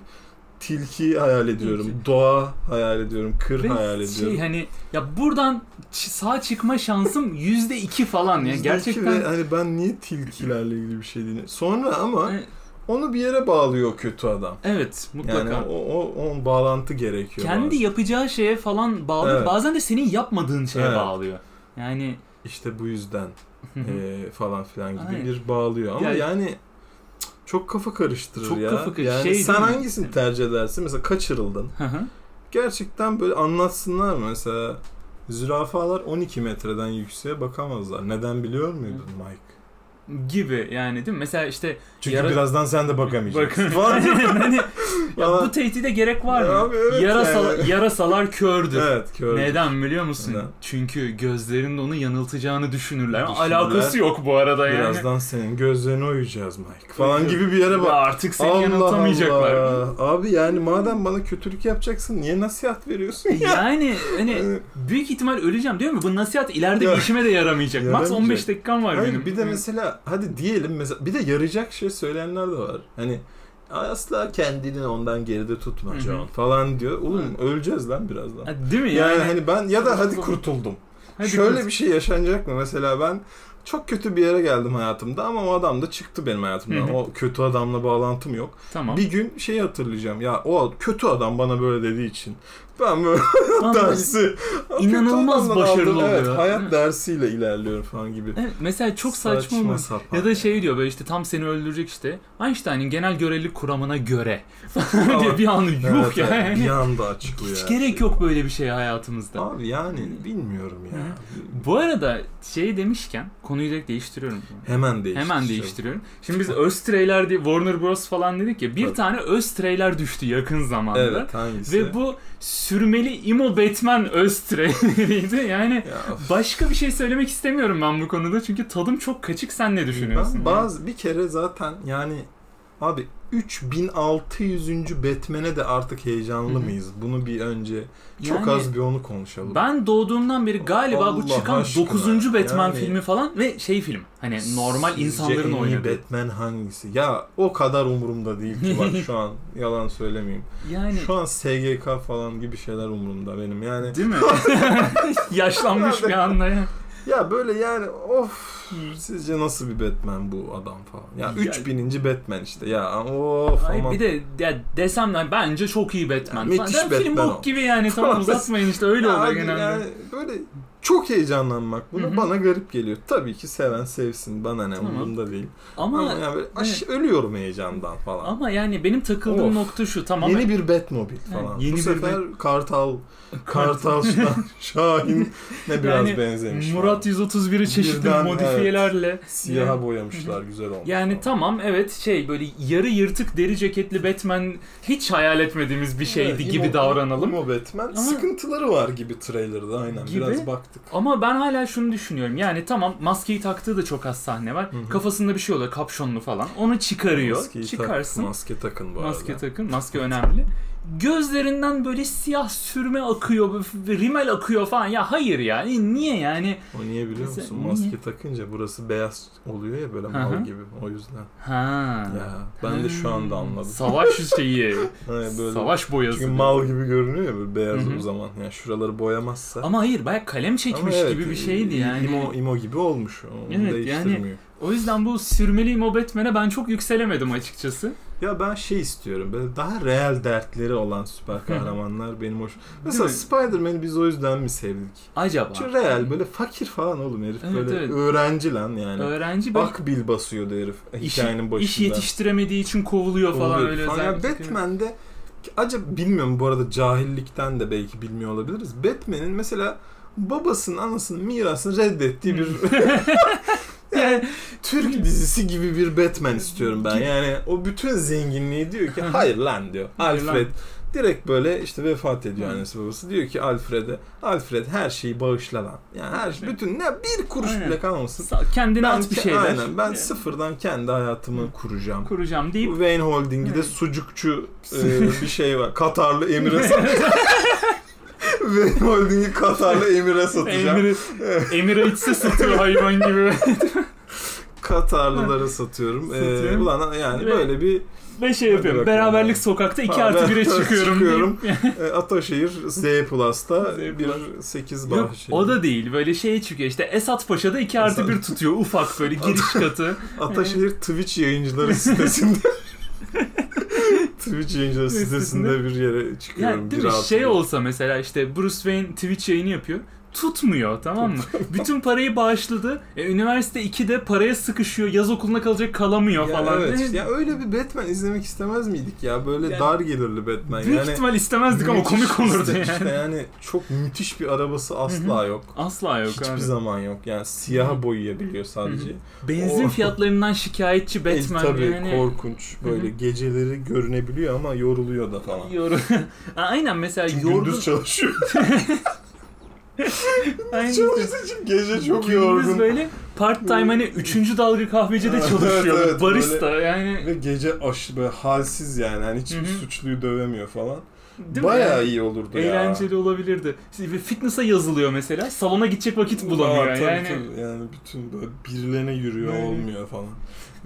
S1: tilki hayal ediyorum. Doğa hayal ediyorum. Kır
S2: Ve
S1: hayal ediyorum.
S2: şey hani ya buradan ç- sağ çıkma şansım yüzde iki falan ya
S1: Bizdeki
S2: gerçekten
S1: ve hani ben niye tilkilerle ilgili bir şey diyeyim. Sonra ama
S2: E,
S1: onu bir yere bağlıyor o kötü adam.
S2: evet mutlaka
S1: Yani o, o, o bağlantı gerekiyor.
S2: kendi
S1: bazen.
S2: yapacağı şeye falan bağlı
S1: Evet.
S2: bazen de senin yapmadığın şeye
S1: Evet.
S2: bağlıyor yani
S1: İşte bu yüzden e, falan filan gibi
S2: Aynen.
S1: bir bağlıyor. Ama
S2: Yani-
S1: yani, cık, çok kafa karıştırır
S2: Çok
S1: ya.
S2: kafa karıştırır.
S1: Yani
S2: Şey
S1: sen
S2: değil mi?
S1: hangisini tercih edersin? Mesela kaçırıldın.
S2: Hı hı.
S1: gerçekten böyle anlatsınlar mı? mesela zürafalar 12 metreden yükseğe bakamazlar. Neden biliyor muydun Mike?
S2: gibi yani değil mi mesela işte
S1: Çünkü
S2: Yara-
S1: birazdan sen de bakamayacaksın.
S2: bakın
S1: Falan.
S2: hani ya
S1: Falan.
S2: bu tehdide gerek var
S1: Ya
S2: mı
S1: abi evet
S2: Yarasala-
S1: yani.
S2: yarasalar kördür
S1: evet kör.
S2: Neden biliyor musun?
S1: Neden?
S2: Çünkü gözlerinin onu yanıltacağını düşünürler.
S1: Düşünürler.
S2: Alakası yok bu arada yani.
S1: Birazdan senin gözlerini oyacağız Mike. Falan
S2: Oyacağız.
S1: gibi bir yere bak.
S2: Artık seni yanıltamayacaklar.
S1: Allah. Abi yani madem bana kötülük yapacaksın niye nasihat veriyorsun ya?
S2: Yani hani büyük ihtimal öleceğim diyor mu? Bu nasihat ileride bir
S1: Ya.
S2: işime de yaramayacak. Max
S1: Yaramayacak.
S2: 15 dakikam var
S1: Hayır,
S2: benim.
S1: bir de mesela hadi diyelim mesela bir de yarayacak şey söyleyenler de var. Hani asla kendini ondan geride
S2: Hı
S1: tutma
S2: hı.
S1: John falan diyor. Oğlum öleceğiz lan birazdan.
S2: Ha, Değil mi?
S1: Yani,
S2: Yani,
S1: hani ben ya da hadi
S2: Kurtuldum.
S1: kurtuldum.
S2: hadi
S1: Şöyle
S2: kız.
S1: bir şey yaşanacak mı? Mesela ben çok kötü bir yere geldim hayatımda ama o adam da çıktı benim hayatımdan.
S2: Hı hı.
S1: O kötü adamla bağlantım yok.
S2: Tamam.
S1: Bir gün şeyi hatırlayacağım. Ya o kötü adam bana böyle dediği için ben böyle
S2: Tamam.
S1: dersi o kötü
S2: İnanılmaz
S1: adamdan
S2: başarılı
S1: aldım. Evet,
S2: oluyor. Değil mi?
S1: hayat dersiyle ilerliyorum falan gibi.
S2: Evet, mesela çok saçma, olmuş.
S1: sapan.
S2: Ya da şey diyor böyle işte tam seni öldürecek işte. Einstein'in genel görelilik kuramına göre. diye
S1: Ama-
S2: bir an yuh
S1: Evet,
S2: ya.
S1: evet,
S2: yani.
S1: Bir anda açıklıyor.
S2: Hiç
S1: her
S2: gerek
S1: şey.
S2: yok böyle bir şeye hayatımızda.
S1: Abi yani bilmiyorum ya.
S2: Bu arada şey demişken konuyu direkt değiştiriyorum.
S1: Hemen değiştir.
S2: Hemen değiştiriyorum. Şimdi biz öz trailer diye Warner Bros falan dedik ya bir
S1: Tabii.
S2: tane öz trailer düştü yakın zamanda.
S1: Evet hangisi?
S2: Ve bu sürmeli Imo Batman öz traileriydi. Yani
S1: Ya,
S2: başka bir şey söylemek istemiyorum ben bu konuda çünkü tadım çok kaçık sen ne düşünüyorsun?
S1: Ben bazı bir kere zaten yani abi 3600. Batman'e de artık
S2: Hı hı.
S1: heyecanlı mıyız? Bunu bir önce çok
S2: Yani
S1: az bir onu konuşalım.
S2: Ben doğduğumdan beri galiba bu
S1: Allah
S2: çıkan
S1: aşkına.
S2: 9. Batman
S1: Yani-
S2: filmi falan ve şey film. Hani normal
S1: Sizce en
S2: insanların
S1: iyi
S2: oynadığı.
S1: Batman hangisi? Ya o kadar umurumda değil ki bak şu an yalan söylemeyeyim.
S2: Yani
S1: Şu an SGK falan gibi şeyler umurumda benim. Yani
S2: değil mi? Yaşlanmış bir anda ya.
S1: ya böyle yani of sizce nasıl bir Batman bu adam falan. Ya
S2: Ya-
S1: 3000. Batman işte ya of
S2: Ay
S1: aman.
S2: bir de ya desem lan bence çok iyi Batman.
S1: Ya,
S2: falan.
S1: müthiş
S2: Der, Film
S1: Batman
S2: bok
S1: o.
S2: gibi yani tamam uzatmayın işte öyle
S1: Ya
S2: oluyor
S1: abi
S2: genelde.
S1: Yani böyle çok heyecanlanmak buna
S2: Hı hı.
S1: bana garip geliyor. Tabii ki seven sevsin bana ne
S2: Tamam.
S1: umurumda değil.
S2: Ama
S1: Ama, yani böyle aş- ölüyorum heyecandan falan.
S2: ama yani benim takıldığım
S1: Of.
S2: nokta şu tamam.
S1: yeni bir Batmobile
S2: Yani
S1: falan.
S2: yeni
S1: Bu
S2: bir
S1: sefer Kartal, Kartal Şa- Şahin ne biraz
S2: Yani
S1: benzemiş.
S2: Murat
S1: falan.
S2: 131'i çeşitli
S1: Birden,
S2: modifiyelerle.
S1: siyaha boyamışlar güzel olmuş.
S2: Yani
S1: falan.
S2: tamam evet şey böyle yarı yırtık deri ceketli Batman hiç hayal etmediğimiz bir şeydi
S1: Evet,
S2: gibi
S1: İmo-
S2: davranalım.
S1: İmo Batman
S2: Ama-
S1: sıkıntıları var gibi trailer'da aynen
S2: Gibi.
S1: biraz baktık.
S2: Ama ben hala şunu düşünüyorum. Yani tamam maskeyi taktığı da çok az sahne var.
S1: Hı hı.
S2: Kafasında bir şey oluyor kapşonlu falan. Onu çıkarıyor.
S1: Maskeyi tak-
S2: Çıkarsın.
S1: maske takın bu
S2: Maske
S1: arada.
S2: takın. Maske önemli. Gözlerinden böyle siyah sürme akıyor, bir rimel akıyor falan. Ya hayır ya. e, Niye yani?
S1: O niye biliyor
S2: Mesela
S1: musun?
S2: niye?
S1: Maske takınca burası beyaz oluyor ya böyle
S2: Hı hı.
S1: mal gibi. O yüzden.
S2: Ha.
S1: Ya ben de şu anda anladım.
S2: Savaş şeyi.
S1: Hani böyle
S2: savaş boyası.
S1: çünkü mal gibi görünüyor ya böyle beyaz
S2: Hı hı.
S1: o zaman. Yani şuraları boyamazsa.
S2: Ama hayır baya kalem çekmiş
S1: Ama evet,
S2: gibi bir şeydi
S1: i-
S2: yani.
S1: Imo, imo gibi olmuş. Onu
S2: Evet,
S1: değiştirmiyor.
S2: O yüzden bu sürmeliyim o Batman'e ben çok yükselemedim açıkçası.
S1: Ya ben şey istiyorum. Böyle daha real dertleri olan süper kahramanlar benim hoş. Mesela
S2: mi?
S1: Spider-Man'i biz o yüzden mi sevdik?
S2: Acaba.
S1: Çünkü real böyle fakir falan oğlum herif.
S2: Evet,
S1: böyle
S2: evet.
S1: öğrenci lan yani.
S2: Öğrenci belki
S1: Akbil basıyordu herif
S2: İş-
S1: hikayenin başında.
S2: iş yetiştiremediği için kovuluyor falan
S1: Oluyor
S2: öyle
S1: falan. Ya
S2: özellikle.
S1: Batman'de acaba bilmiyorum bu arada cahillikten de belki bilmiyor olabiliriz. Batman'in mesela babasının anasının mirasını reddettiği bir
S2: Hmm. Yani Hmm.
S1: Türk dizisi gibi bir Batman istiyorum ben. Yani o bütün zenginliği diyor ki hayır lan diyor.
S2: Hayır lan.
S1: Alfred direkt böyle işte vefat ediyor
S2: Hı.
S1: annesi babası. Diyor ki Alfred'e Alfred her şeyi bağışla lan. Yani her
S2: Evet.
S1: bütün ne bir kuruş
S2: Aynen.
S1: bile kalmasın.
S2: kendine
S1: Ben,
S2: at bir şey şeyler.
S1: aynen, ben
S2: Yani
S1: sıfırdan kendi hayatımı
S2: Hı.
S1: kuracağım.
S2: kuracağım deyip
S1: Wayne Holding'i de
S2: Evet.
S1: sucukçu e, bir şey var. Katarlı Emir'e satacağım. Wayne Holding'i Katarlı Emir'e satacağım.
S2: Emir'i Emir'e içse satıyor hayvan gibi.
S1: Katarlılara satıyorum. Ee,
S2: Satıyorum.
S1: ulan yani
S2: Ve-
S1: böyle bir
S2: Ve şey
S1: Hadi
S2: yapıyorum.
S1: bakalım.
S2: Beraberlik sokakta 2
S1: Ha,
S2: artı 1'e
S1: ben-
S2: çıkıyorum.
S1: çıkıyorum.
S2: deyip-
S1: E, Ataşehir Z Plus'ta
S2: Z
S1: bir şey 8
S2: Yok
S1: bahşi.
S2: o da değil. Böyle şeye çıkıyor işte Esat Paşa'da 2 artı
S1: Esat-
S2: 1 tutuyor. Ufak böyle giriş katı.
S1: Ataşehir Twitch yayıncıları sitesinde. Twitch yayıncıları sitesinde bir yere çıkıyorum.
S2: Yani değil
S1: bir
S2: mi?
S1: altı.
S2: Şey olsa mesela işte Bruce Wayne Twitch yayını yapıyor. Tutmuyor tamam mı? Bütün parayı bağışladı. E, üniversite 2'de paraya sıkışıyor. Yaz okuluna kalacak kalamıyor
S1: Ya
S2: falan. E,
S1: evet.
S2: Ne?
S1: Ya öyle bir Batman izlemek istemez miydik ya? Böyle
S2: Yani-
S1: dar gelirli Batman.
S2: Büyük
S1: yani
S2: ihtimal istemezdik ama
S1: müthiş
S2: komik olurdu
S1: işte-
S2: yani.
S1: işte yani çok müthiş bir arabası asla yok.
S2: Asla yok
S1: Hiçbir
S2: abi.
S1: zaman yok. Yani siyaha boyayabiliyor sadece.
S2: Benzin
S1: O-
S2: fiyatlarından şikayetçi
S1: E,
S2: Batman
S1: tabii
S2: yani.
S1: korkunç. Böyle
S2: Hı hı.
S1: geceleri görünebiliyor ama yoruluyor da falan.
S2: Yor- A- Aynen mesela
S1: Çünkü
S2: yorgun.
S1: Gündüz çalışıyor.
S2: Aynen.
S1: Çalıştığı için gece çok
S2: Gündüz
S1: yorgun.
S2: böyle part time hani 3. dalga kahvecide çalışıyor.
S1: Evet, evet,
S2: barista yani.
S1: Ve gece aş böyle halsiz yani. Hani hiçbir
S2: Hı hı.
S1: suçluyu dövemiyor falan.
S2: Değil mi?
S1: Bayağı iyi olurdu ya.
S2: Eğlenceli olabilirdi. Ve fitness'a yazılıyor mesela. Salona gidecek vakit bulamıyor
S1: Aa, tabii,
S2: yani.
S1: tabii. Yani bütün böyle birilerine yürüyor
S2: Böyle.
S1: olmuyor falan.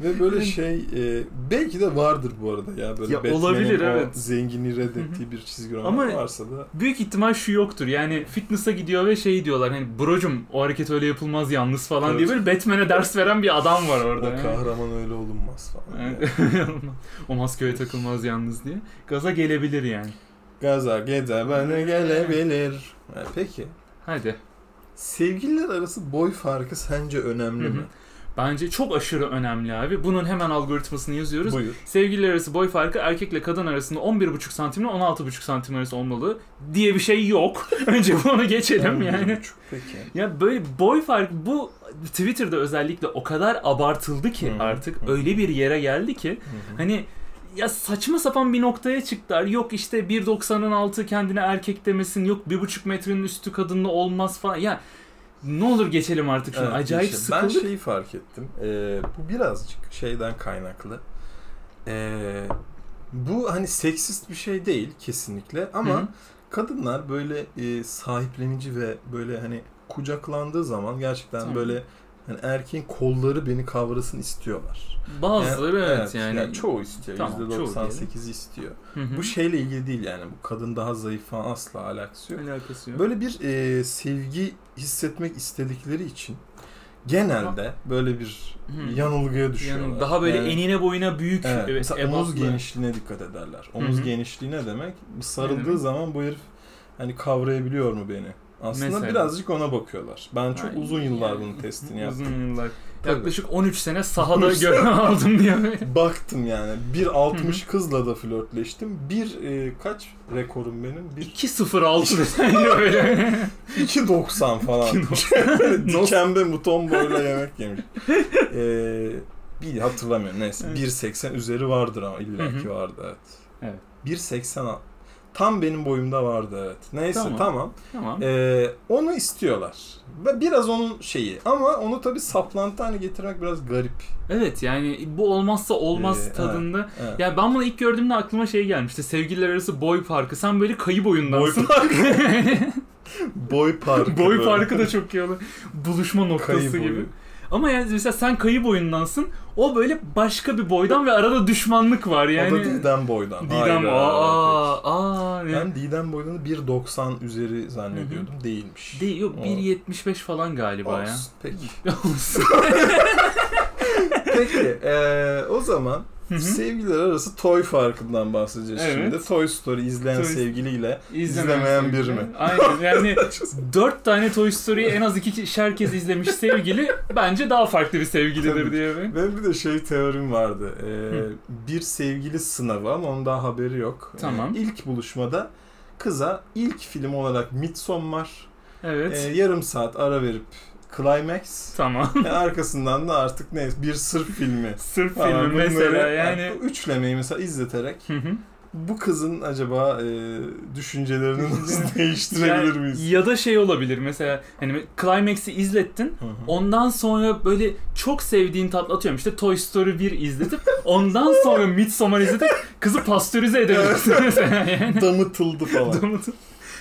S1: Ve böyle
S2: Evet.
S1: şey e, belki de vardır bu arada ya böyle
S2: Ya
S1: Batman'in
S2: olabilir,
S1: o
S2: evet.
S1: zenginliği reddettiği bir çizgi roman
S2: Ama-
S1: varsa da
S2: Büyük ihtimal şu yoktur. Yani fitness'a gidiyor ve şey diyorlar hani brocum o hareket öyle yapılmaz yalnız falan
S1: Evet.
S2: diye böyle Batman'e ders veren bir adam var
S1: o
S2: orada. yani.
S1: kahraman öyle olunmaz falan.
S2: Yani-
S1: Yani.
S2: o maskeye takılmaz yalnız diye. Gaza gelebilir yani.
S1: Gaza geze bana gelebilir. Ha, peki.
S2: Hadi.
S1: Sevgililer arası boy farkı sence önemli
S2: Hı hı.
S1: mi?
S2: Bence çok aşırı önemli abi. Bunun hemen algoritmasını yazıyoruz.
S1: Buyur.
S2: Sevgililer arası boy farkı erkekle kadın arasında 11,5 santimle 16,5 santim arası olmalı diye bir şey yok. Önce bunu geçelim yani.
S1: Peki.
S2: Ya böyle boy farkı bu Twitter'da özellikle o kadar abartıldı ki
S1: Hı,
S2: artık
S1: hı.
S2: öyle bir yere geldi ki hani ya saçma sapan bir noktaya çıktılar. Yok işte 1.90'ın altı kendine erkek demesin. Yok 1.5 metrenin üstü kadınla olmaz falan. Ya ne olur geçelim artık şunu.
S1: Evet,
S2: Acayip
S1: işte Ben
S2: sıkıldık.
S1: şeyi fark ettim. Ee, bu birazcık şeyden kaynaklı. Ee, bu hani seksist bir şey değil kesinlikle ama
S2: Hı hı.
S1: kadınlar böyle e, sahiplenici ve böyle hani kucaklandığı zaman gerçekten
S2: Tamam.
S1: böyle hani erkeğin kolları beni kavrasın istiyorlar.
S2: Bazıları evet, yani.
S1: çoğu istiyor.
S2: Tamam, çoğu diyelim.
S1: %98'i istiyor.
S2: Hı hı.
S1: Bu şeyle ilgili değil yani. Bu kadın daha zayıf falan asla alakası yok.
S2: alakası yok.
S1: Böyle bir e, sevgi hissetmek istedikleri için genelde böyle bir
S2: Hı.
S1: yanılgıya düşüyorlar.
S2: Yani daha böyle
S1: Yani-
S2: enine boyuna büyük.
S1: Evet,
S2: evet,
S1: mesela
S2: ebatlı.
S1: omuz genişliğine dikkat ederler. Omuz
S2: Hı hı.
S1: genişliği ne demek?
S2: Ne
S1: Sarıldığı
S2: demek?
S1: zaman bu herif hani kavrayabiliyor mu beni? Aslında
S2: Mesela.
S1: birazcık ona bakıyorlar. Ben çok
S2: Aynen.
S1: uzun yıllar bunun testini yaptım.
S2: Uzun yıllar.
S1: Tabii.
S2: Yaklaşık 13 sene sahada
S1: 13 sene.
S2: görev aldım diye.
S1: Baktım yani. 1.60
S2: Hı
S1: kızla da flörtleştim. Bir e, kaç rekorum benim? Bir
S2: 2.06 deseydi böyle.
S1: 2.90 falan. Dikembe buton boyla yemek yemiş. Ee, bir hatırlamıyorum neyse.
S2: Evet.
S1: 1.80 üzeri vardır ama
S2: Hı
S1: illaki
S2: hı.
S1: vardı evet.
S2: Evet.
S1: 1.80 al- tam benim boyumda vardı evet. Neyse
S2: Tamam.
S1: tamam.
S2: tamam.
S1: Ee, onu istiyorlar. Ve biraz onun şeyi ama onu tabi saplantı haline getirmek biraz garip.
S2: Evet yani bu olmazsa olmaz
S1: Ee,
S2: tadında.
S1: Evet.
S2: Ya ben bunu ilk gördüğümde aklıma şey gelmişti. Sevgililer arası boy farkı. Sen böyle kayı boyundansın.
S1: Boy Boy parkı.
S2: boy
S1: böyle.
S2: farkı da çok iyi olur. Buluşma noktası
S1: Kayı boyu.
S2: gibi. Ama yani mesela sen kayı boyundansın. O böyle başka bir boydan ve arada düşmanlık var yani.
S1: O da Didem boydan.
S2: Didem
S1: Hayır,
S2: aa
S1: hayır.
S2: aa. ne-
S1: Ben Didem boyunu 1.90 üzeri zannediyordum. Değilmiş.
S2: Değil yok
S1: O-
S2: 1.75 falan galiba
S1: Olsun, Peki.
S2: ya. Olsun.
S1: zaman
S2: Hı hı.
S1: sevgililer arası toy farkından bahsedeceğiz
S2: Evet.
S1: şimdi. Toy Story izleyen
S2: Toy-
S1: sevgiliyle izlemeyen biri mi?
S2: Aynen yani dört tane Toy Story'yi en az iki kişi herkes izlemiş sevgili bence daha farklı bir sevgilidir
S1: Tabii.
S2: diye ben.
S1: Benim bir de şey teorim vardı. Ee,
S2: Hı.
S1: bir sevgili sınavı ama ondan haberi yok.
S2: Tamam.
S1: ilk buluşmada kıza ilk film olarak Midsommar,
S2: Evet.
S1: e, yarım saat ara verip Climax,
S2: tamam.
S1: e, arkasından da artık ne bir Sırp filmi.
S2: Sırf
S1: falan
S2: filmi
S1: bunları-
S2: mesela yani.
S1: bu üçlemeyi mesela izleterek
S2: Hı hı.
S1: bu kızın acaba e, düşüncelerini nasıl değiştirebilir
S2: Yani
S1: miyiz?
S2: Ya da şey olabilir mesela hani Climax'i izlettin.
S1: Hı hı.
S2: Ondan sonra böyle çok sevdiğin tatlı atıyorum işte Toy Story 1 izletip ondan sonra Midsommar izletip kızı pastörize edebilirsin mesela yani.
S1: Damıtıldı falan.
S2: Damıtı-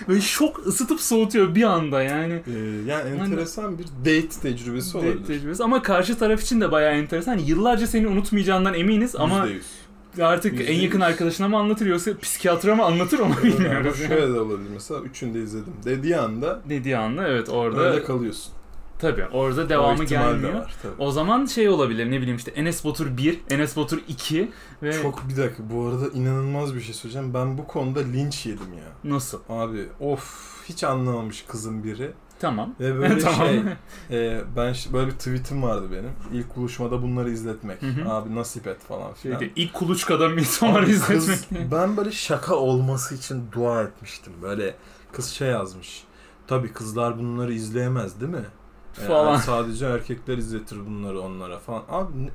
S2: Böyle şok ısıtıp soğutuyor bir anda yani.
S1: Ee, yani enteresan bir date tecrübesi
S2: Date
S1: olabilir.
S2: tecrübesi. Ama karşı taraf için de bayağı enteresan. Yıllarca seni unutmayacağından eminiz ama
S1: %100.
S2: artık
S1: Yüzde
S2: en yakın
S1: yüz.
S2: arkadaşına mı anlatır yoksa psikiyatra mı anlatır onu
S1: Ama
S2: bilmiyoruz. yani.
S1: Ee, şöyle de olabilir mesela üçünü de izledim dediği anda
S2: Dediği anda evet orada
S1: öyle kalıyorsun.
S2: tabii orada
S1: O
S2: devamı
S1: ihtimal de
S2: gelmiyor.
S1: var tabii.
S2: O zaman şey olabilir ne bileyim işte Enes Batur 1, Enes Batur 2 ve
S1: Çok bir dakika bu arada inanılmaz bir şey söyleyeceğim. Ben bu konuda linç yedim ya.
S2: nasıl?
S1: Abi of hiç anlamamış kızın biri.
S2: Tamam.
S1: Ve böyle
S2: tamam.
S1: şey e, ben ş- böyle bir tweetim vardı benim. İlk buluşmada bunları izletmek.
S2: Hı Şey hı.
S1: Abi nasip et falan filan.
S2: Şeyde, ilk kuluçkada Midsommar'ı izletmek.
S1: Kız, ben böyle şaka olması için dua etmiştim. Böyle kız şey yazmış. Tabii kızlar bunları izleyemez değil mi? Yani
S2: Falan.
S1: sadece erkekler izletir bunları onlara falan. Abi ne-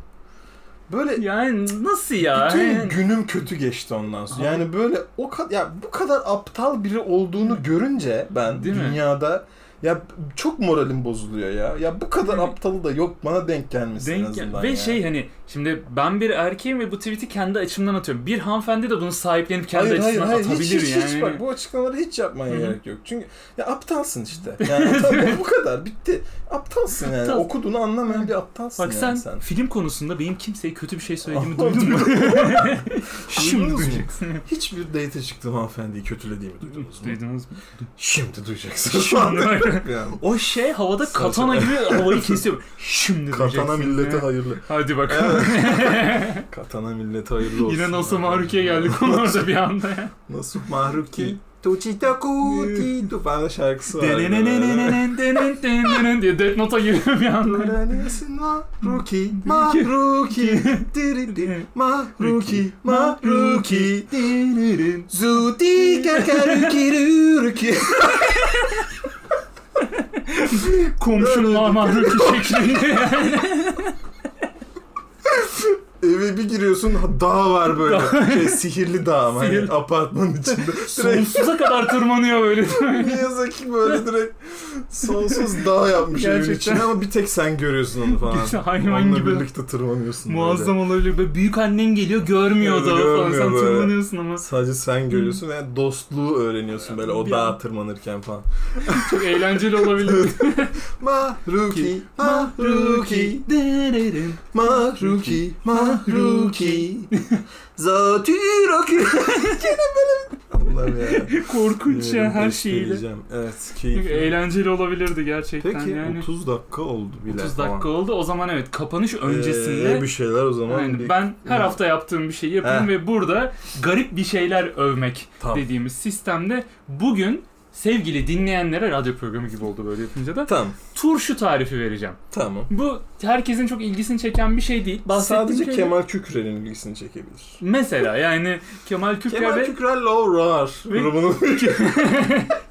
S1: böyle
S2: Yani nasıl ya?
S1: bütün
S2: Yani-
S1: günüm kötü geçti ondan sonra.
S2: Abi-
S1: Yani böyle o kadar ya bu kadar aptal biri olduğunu görünce ben
S2: Değil mi?
S1: dünyada ya çok moralim bozuluyor ya. Ya bu kadar
S2: Değil mi?
S1: aptalı da yok bana denk gelmesi en
S2: Denk gel-
S1: azından
S2: ve
S1: ya.
S2: şey hani şimdi ben bir erkeğim ve bu tweet'i kendi açımdan atıyorum. Bir hanımefendi de bunu sahiplenip kendi
S1: hayır hayır
S2: açısından
S1: hayır
S2: atabilir
S1: hiç, hiç,
S2: yani.
S1: hiç bak bu açıklamaları hiç yapmaya
S2: Hı hı.
S1: gerek yok. Çünkü ya aptalsın işte. Yani tabii bu kadar bitti. Aptalsın yani.
S2: Aptal.
S1: Okuduğunu anlamayan bir aptalsın
S2: Bak sen,
S1: yani
S2: film konusunda benim kimseye kötü bir şey söylediğimi
S1: Aa,
S2: duydun mu?
S1: Duydunuz
S2: Şimdi
S1: mu?
S2: duyacaksın.
S1: Hiçbir date çıktığım hanımefendiyi kötülediğimi duydunuz mu?
S2: Duydunuz mu?
S1: Şimdi duyacaksınız.
S2: Şimdi bak.
S1: yani.
S2: O şey havada
S1: Saçma.
S2: katana gibi havayı kesiyor. Şimdi
S1: Katana
S2: duyacaksın.
S1: millete hayırlı.
S2: Hadi bakalım.
S1: Katana millete hayırlı olsun.
S2: Yine nasıl Maruki'ye geldik konu orada bir anda ya.
S1: Nasıl Mahruki? Tuchita kuti tu falan şarkısı var.
S2: Denenenenenen, denenenenenen diye Death Note'a giriyor bir anda.
S1: Öğrenirsin Mahruki, Mahruki, dirili, Mahruki, Mahruki, diririn, zuti kakarukirurki.
S2: Komşum
S1: Öyle.
S2: Maruki şeklinde yani.
S1: Eve bir giriyorsun ha- dağ var böyle. Şey, sihirli dağ ama hani
S2: Sihirli.
S1: apartmanın içinde. Direkt
S2: Sonsuza kadar tırmanıyor böyle.
S1: Miyazaki böyle direkt sonsuz dağ yapmış evin
S2: Gerçekten.
S1: içine ama bir tek sen görüyorsun onu falan.
S2: Bir hayvan
S1: Onunla
S2: gibi.
S1: birlikte tırmanıyorsun. böyle.
S2: Muazzam olabilir. Böyle büyük annen geliyor görmüyor da
S1: Görmüyor
S2: falan. Sen
S1: böyle.
S2: tırmanıyorsun ama.
S1: Sadece sen görüyorsun ve dostluğu öğreniyorsun böyle o
S2: Hmm. Bir
S1: dağa
S2: an-
S1: tırmanırken falan.
S2: Çok eğlenceli olabilir.
S1: Mahruki, Mahruki,
S2: dererim.
S1: Mahruki, Mahruki. Zatüraki. Allah'ım ya.
S2: Korkunç ya
S1: Yerim
S2: her şeyiyle.
S1: eşleyeceğim. Evet,
S2: Çünkü
S1: keyifli.
S2: Eğlenceli olabilirdi gerçekten
S1: Peki
S2: yani.
S1: 30 dakika oldu bile.
S2: 30
S1: falan.
S2: dakika oldu. O zaman evet kapanış
S1: Ee,
S2: öncesinde
S1: bir şeyler o zaman.
S2: Aynen.
S1: bir-
S2: Ben her hafta yaptığım bir şey yapayım
S1: Heh.
S2: ve burada garip bir şeyler övmek
S1: Tamam.
S2: dediğimiz sistemde bugün sevgili dinleyenlere radyo programı gibi oldu böyle yapınca da
S1: Tamam.
S2: turşu tarifi vereceğim.
S1: Tamam.
S2: Bu herkesin çok ilgisini çeken bir şey değil. Bahsettiğim
S1: Sadece
S2: şey-
S1: Kemal Kükre'nin ilgisini çekebilir.
S2: Mesela yani Kemal Kükrer
S1: Kemal
S2: ve
S1: Kükre Lowrar
S2: Ve-
S1: grubunun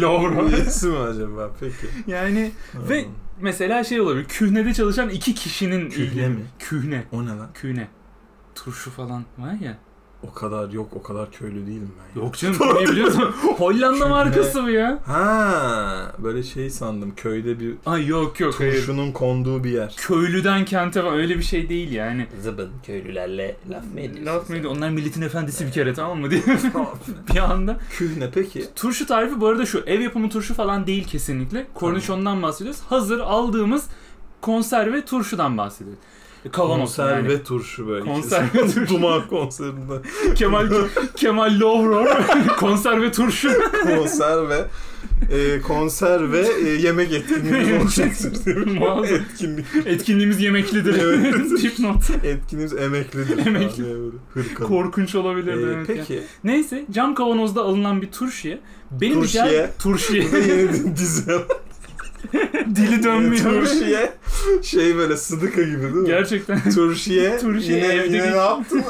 S2: Laura.
S1: üyesi mi acaba? Peki.
S2: Yani ve
S1: Hmm.
S2: mesela şey olabilir. Kühnede çalışan iki kişinin
S1: Kühne
S2: ilgili-
S1: mi?
S2: Kühne.
S1: O ne lan?
S2: Kühne. Turşu falan var ya.
S1: O kadar yok o kadar köylü değilim ben. ya.
S2: Yok canım kühneyi biliyorsun. Hollanda
S1: Kühne.
S2: markası bu ya.
S1: Ha böyle şey sandım köyde bir
S2: Ay yok yok hayır.
S1: turşunun konduğu bir yer.
S2: Köylüden kente falan öyle bir şey değil yani.
S3: Zıbın köylülerle laf mı ediyorsun?
S2: Laf mıydı? Onlar milletin efendisi bir
S3: Evet.
S2: kere tamam mı diye bir anda.
S1: Kühne peki.
S2: Turşu tarifi bu arada şu ev yapımı turşu falan değil kesinlikle. Kornişondan bahsediyoruz. Hazır aldığımız konserve turşudan bahsediyoruz. Kavanoz
S1: Konser
S2: yani.
S1: E, ve turşu böyle.
S2: Konser
S1: ikisi.
S2: ve turşu.
S1: Duman konserinde.
S2: Kemal Kemal Lovror konserve turşu.
S1: konser ve e, konser ve e, yemek etkinliğimiz olacak.
S2: Muazzam.
S1: Etkinlik.
S2: Etkinliğimiz yemeklidir.
S1: Evet.
S2: Dipnot.
S1: Etkinliğimiz emeklidir.
S2: Emekli.
S1: Yani böyle Hırkalı.
S2: Korkunç olabilir.
S1: Ee,
S2: evet.
S1: peki.
S2: Neyse cam kavanozda alınan bir turşuya benim
S1: Turşiye.
S2: rica- turşiye
S1: Bu da yeni dizi.
S2: dili dönmüyor.
S1: Turşiye. Şey böyle sıdıka gibi değil mi?
S2: Gerçekten
S1: Turşiye.
S2: Turşiye
S1: yine,
S2: evde
S1: yine
S2: bir-
S1: ne yaptın?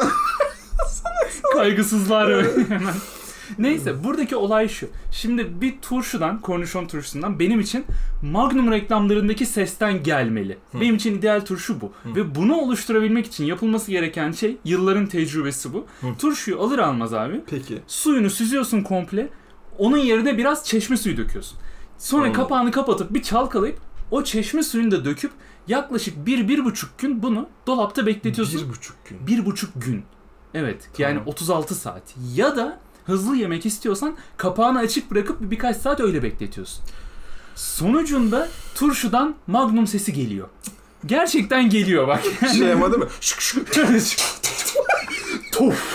S2: kaygısızlar öyle hemen. Neyse buradaki olay şu. Şimdi bir turşudan, kornişon turşusundan benim için Magnum reklamlarındaki sesten gelmeli.
S1: Hı.
S2: Benim için ideal turşu bu. Ve bunu oluşturabilmek için yapılması gereken şey yılların tecrübesi bu.
S1: Hı.
S2: Turşuyu alır almaz abi
S1: Peki.
S2: suyunu süzüyorsun komple. Onun yerine biraz çeşme suyu döküyorsun. Sonra
S1: Anladım.
S2: kapağını kapatıp bir çalkalayıp o çeşme suyunu da döküp yaklaşık bir, bir buçuk gün bunu dolapta bekletiyorsun.
S1: Bir buçuk gün.
S2: Bir buçuk gün. Evet.
S1: Tamam.
S2: Yani 36 saat. Ya da hızlı yemek istiyorsan kapağını açık bırakıp birkaç saat öyle bekletiyorsun. Sonucunda turşudan magnum sesi geliyor. Gerçekten geliyor bak.
S1: Şey ama değil mi? Şık
S2: Tof.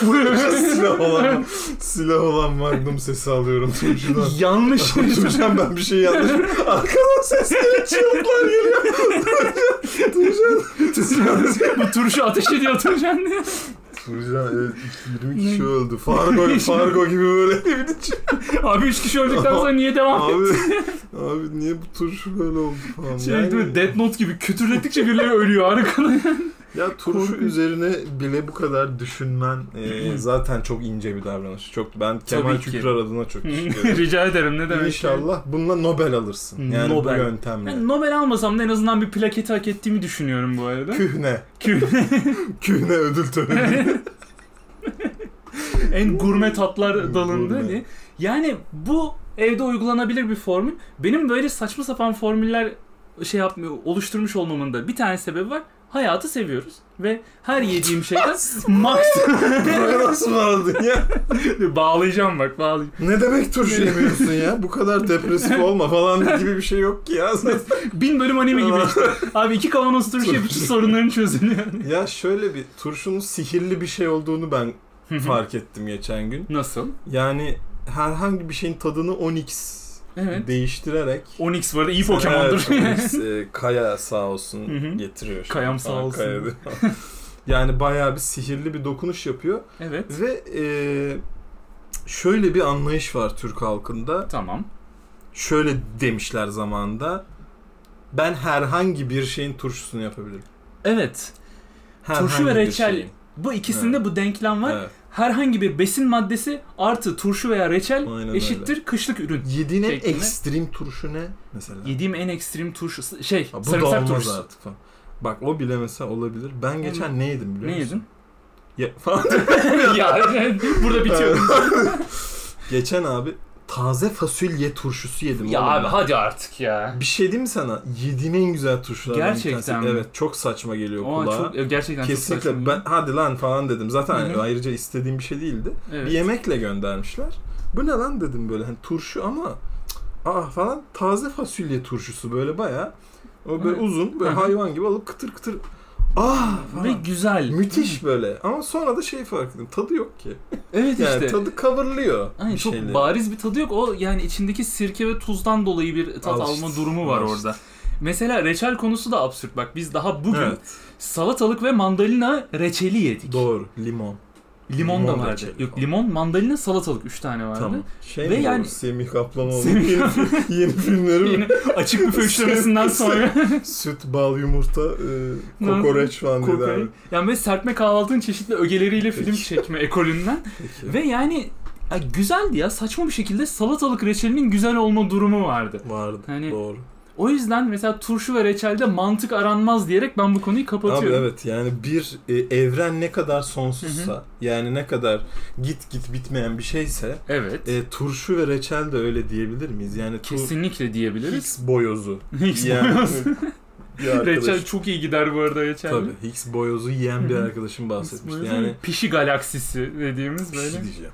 S1: silah olan, silah olan magnum sesi alıyorum turşudan.
S2: Yanlış.
S1: Duracağım ben bir şey yanlış. Arkadan sesleri çığlıklar geliyor. Duracağım. Duracağım.
S2: Bu turşu ateş ediyor turşan diye.
S1: Duracağım. Evet, 20 kişi öldü. Fargo, Fargo gibi böyle evin içi.
S2: Abi 3 kişi öldükten sonra niye devam et?
S1: Abi, abi niye bu turşu böyle oldu falan.
S2: Şey
S1: Yani-
S2: değil mi? Death Note gibi kütürlettikçe birileri ölüyor arkada.
S1: Ya turşu
S2: Korkunç.
S1: üzerine bile bu kadar düşünmen e, zaten çok ince bir davranış. Çok ben Kemal
S2: Tabii ki.
S1: Kükrer adına çok düşünüyorum.
S2: Rica ederim ne demek.
S1: İnşallah bununla Nobel alırsın. Hmm. Yani
S2: Nobel.
S1: bu yöntemle.
S2: Ben Nobel almasam da en azından bir plaketi hak ettiğimi düşünüyorum bu arada.
S1: Kühne.
S2: Kü-
S1: Kühne ödül töreni.
S2: en gurme tatlar dalında
S1: Gurme.
S2: ne? Yani bu evde uygulanabilir bir formül. Benim böyle saçma sapan formüller şey yapmıyor, oluşturmuş olmamın da bir tane sebebi var. Hayatı seviyoruz ve her yediğim şeyden maksimum
S1: Buraya nasıl vardın ya?
S2: bağlayacağım bak bağlayacağım.
S1: Ne demek şey? turşu yemiyorsun ya? Bu kadar depresif olma falan gibi bir şey yok ki ya.
S2: Bin bölüm anime gibi işte. Abi iki kavanoz turşuya bütün sorunların çözülüyor.
S1: ya şöyle bir turşunun sihirli bir şey olduğunu ben fark ettim geçen gün.
S2: Nasıl?
S1: Yani herhangi bir şeyin tadını 10x
S2: Evet.
S1: değiştirerek
S2: Onyx bu arada iyi Pokemon'dur.
S1: Evet, Onyx, e, kaya sağ olsun
S2: Hı hı.
S1: getiriyor. şimdi.
S2: Kayam sağ
S1: Aa,
S2: olsun.
S1: kaya diyor. yani bayağı bir sihirli bir dokunuş yapıyor
S2: evet.
S1: ve e, şöyle bir anlayış var Türk halkında.
S2: Tamam.
S1: şöyle demişler zamanında. Ben herhangi bir şeyin turşusunu yapabilirim.
S2: Evet.
S1: Herhangi
S2: Turşu ve
S1: bir
S2: reçel
S1: şeyin.
S2: Bu ikisinde
S1: Evet.
S2: bu denklem var.
S1: Evet.
S2: Herhangi bir besin maddesi artı turşu veya reçel
S1: Aynen
S2: eşittir kışlık ürün.
S1: Yediğin en
S2: Şeklinde.
S1: ekstrem turşu ne mesela?
S2: Yediğim en ekstrem turşu şey
S1: Ha, bu da
S2: sarımsak
S1: olmaz
S2: turşusu.
S1: artık falan. Bak o bile mesela olabilir. Ben geçen ne yedim biliyor
S2: Ne
S1: musun?
S2: yedin?
S1: Ne yedim? Falan.
S2: ya burada bitiyor.
S1: geçen abi taze fasulye turşusu yedim.
S2: ya
S1: oğlum
S2: abi
S1: ben.
S2: hadi artık ya.
S1: Bir şey diyeyim mi sana? Yediğim en güzel turşulardan bir
S2: Gerçekten
S1: tanesi.
S2: mi?
S1: Evet çok saçma geliyor
S2: Aa,
S1: kulağa.
S2: çok gerçekten çok
S1: Kesinlikle
S2: saçma.
S1: ben hadi lan falan dedim. Zaten hani
S2: Hı hı.
S1: ayrıca istediğim bir şey değildi.
S2: evet.
S1: Bir yemekle göndermişler. Bu ne lan dedim böyle hani turşu ama cık, ah falan taze fasulye turşusu böyle baya o böyle
S2: Evet.
S1: uzun böyle
S2: Hı hı.
S1: hayvan gibi alıp kıtır kıtır ah
S2: ve
S1: falan.
S2: güzel.
S1: Müthiş böyle ama sonra da şey fark ettim tadı yok ki.
S2: Evet
S1: Yani
S2: işte.
S1: tadı coverlıyor
S2: Aynen,
S1: bir
S2: çok
S1: şeyleri.
S2: bariz bir tadı yok. O yani içindeki sirke ve tuzdan dolayı bir tat
S1: Al
S2: alma
S1: işte,
S2: durumu var
S1: al işte.
S2: orada. Mesela reçel konusu da absürt. Bak biz daha bugün
S1: Evet
S2: salatalık ve mandalina reçeli yedik.
S1: doğru limon.
S2: Limon, da
S1: Limon
S2: vardı.
S1: reçeli
S2: Yok
S1: falan.
S2: limon, mandalina, salatalık 3 tane vardı.
S1: Tamam. Şey
S2: Ve
S1: mi
S2: yani-
S1: yani... Semih Kaplanoğlu
S2: Semih-
S1: yeni, fi- yeni filmleri mi?
S2: Yine açık büfe üçlemesinden sonra
S1: Süt, bal, yumurta, e, kokoreç falan dedi
S2: kokoreç.
S1: abi.
S2: Yani böyle serpme kahvaltının çeşitli ögeleriyle film
S1: Peki.
S2: çekme ekolünden.
S1: Peki.
S2: Ve yani ya güzeldi ya saçma bir şekilde salatalık reçelinin güzel olma durumu vardı.
S1: Vardı
S2: Hani-
S1: doğru.
S2: O yüzden mesela turşu ve reçelde mantık aranmaz diyerek ben bu konuyu kapatıyorum.
S1: Abi evet yani bir e, evren ne kadar sonsuzsa yani ne kadar git git bitmeyen bir şeyse
S2: Evet.
S1: e, turşu ve reçel de öyle diyebilir miyiz? Yani tur-
S2: Kesinlikle diyebiliriz.
S1: Higgs boyozu.
S2: Hiç
S1: Yani-
S2: boyoz.
S1: Bir arkadaş-
S2: Reçel çok iyi gider bu arada reçel.
S1: Tabii Higgs boyozu yiyen bir
S2: Hı hı.
S1: arkadaşım bahsetmişti.
S2: Boyozun
S1: Yani
S2: pişi galaksisi dediğimiz
S1: bir şey
S2: böyle.
S1: diyeceğim.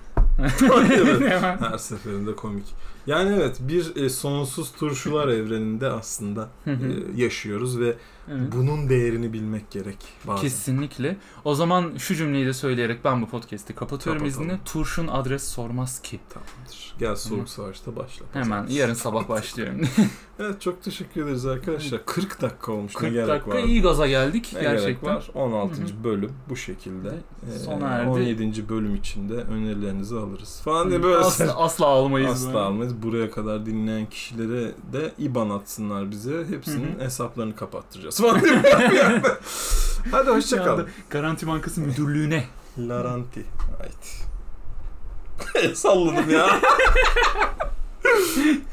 S1: Evet.
S2: Hemen.
S1: Her seferinde komik. Yani evet bir e, sonsuz turşular evreninde aslında
S2: Hı
S1: e,
S2: hı.
S1: yaşıyoruz ve
S2: Evet.
S1: Bunun değerini bilmek gerek bazen.
S2: Kesinlikle. O zaman şu cümleyi de söyleyerek ben bu podcast'i kapatıyorum
S1: Kapatalım.
S2: izni. Turşun adres sormaz ki.
S1: Tamamdır. Gel soğuk savaşta başla.
S2: Hemen yarın sabah başlıyorum.
S1: Evet çok teşekkür ederiz arkadaşlar. 40 dakika olmuş.
S2: 40
S1: ne gerek
S2: dakika
S1: var?
S2: iyi gaza geldik
S1: Ne gerek
S2: gerçekten.
S1: var? 16.
S2: Hı
S1: bölüm bu şekilde.
S2: De-
S1: Ee,
S2: sona erdi.
S1: 17. bölüm içinde önerilerinizi alırız falan diye böyle
S2: Asla, asla almayız.
S1: Asla
S2: böyle.
S1: almayız. Buraya kadar dinleyen kişilere de IBAN atsınlar bize. Hepsinin hesaplarını kapattıracağız. falan diye bir anda. Hadi
S2: Bir
S1: hoşçakalın.
S2: anda Garanti Bankası Müdürlüğü'ne.
S1: Laranti. Ait. Salladım ya.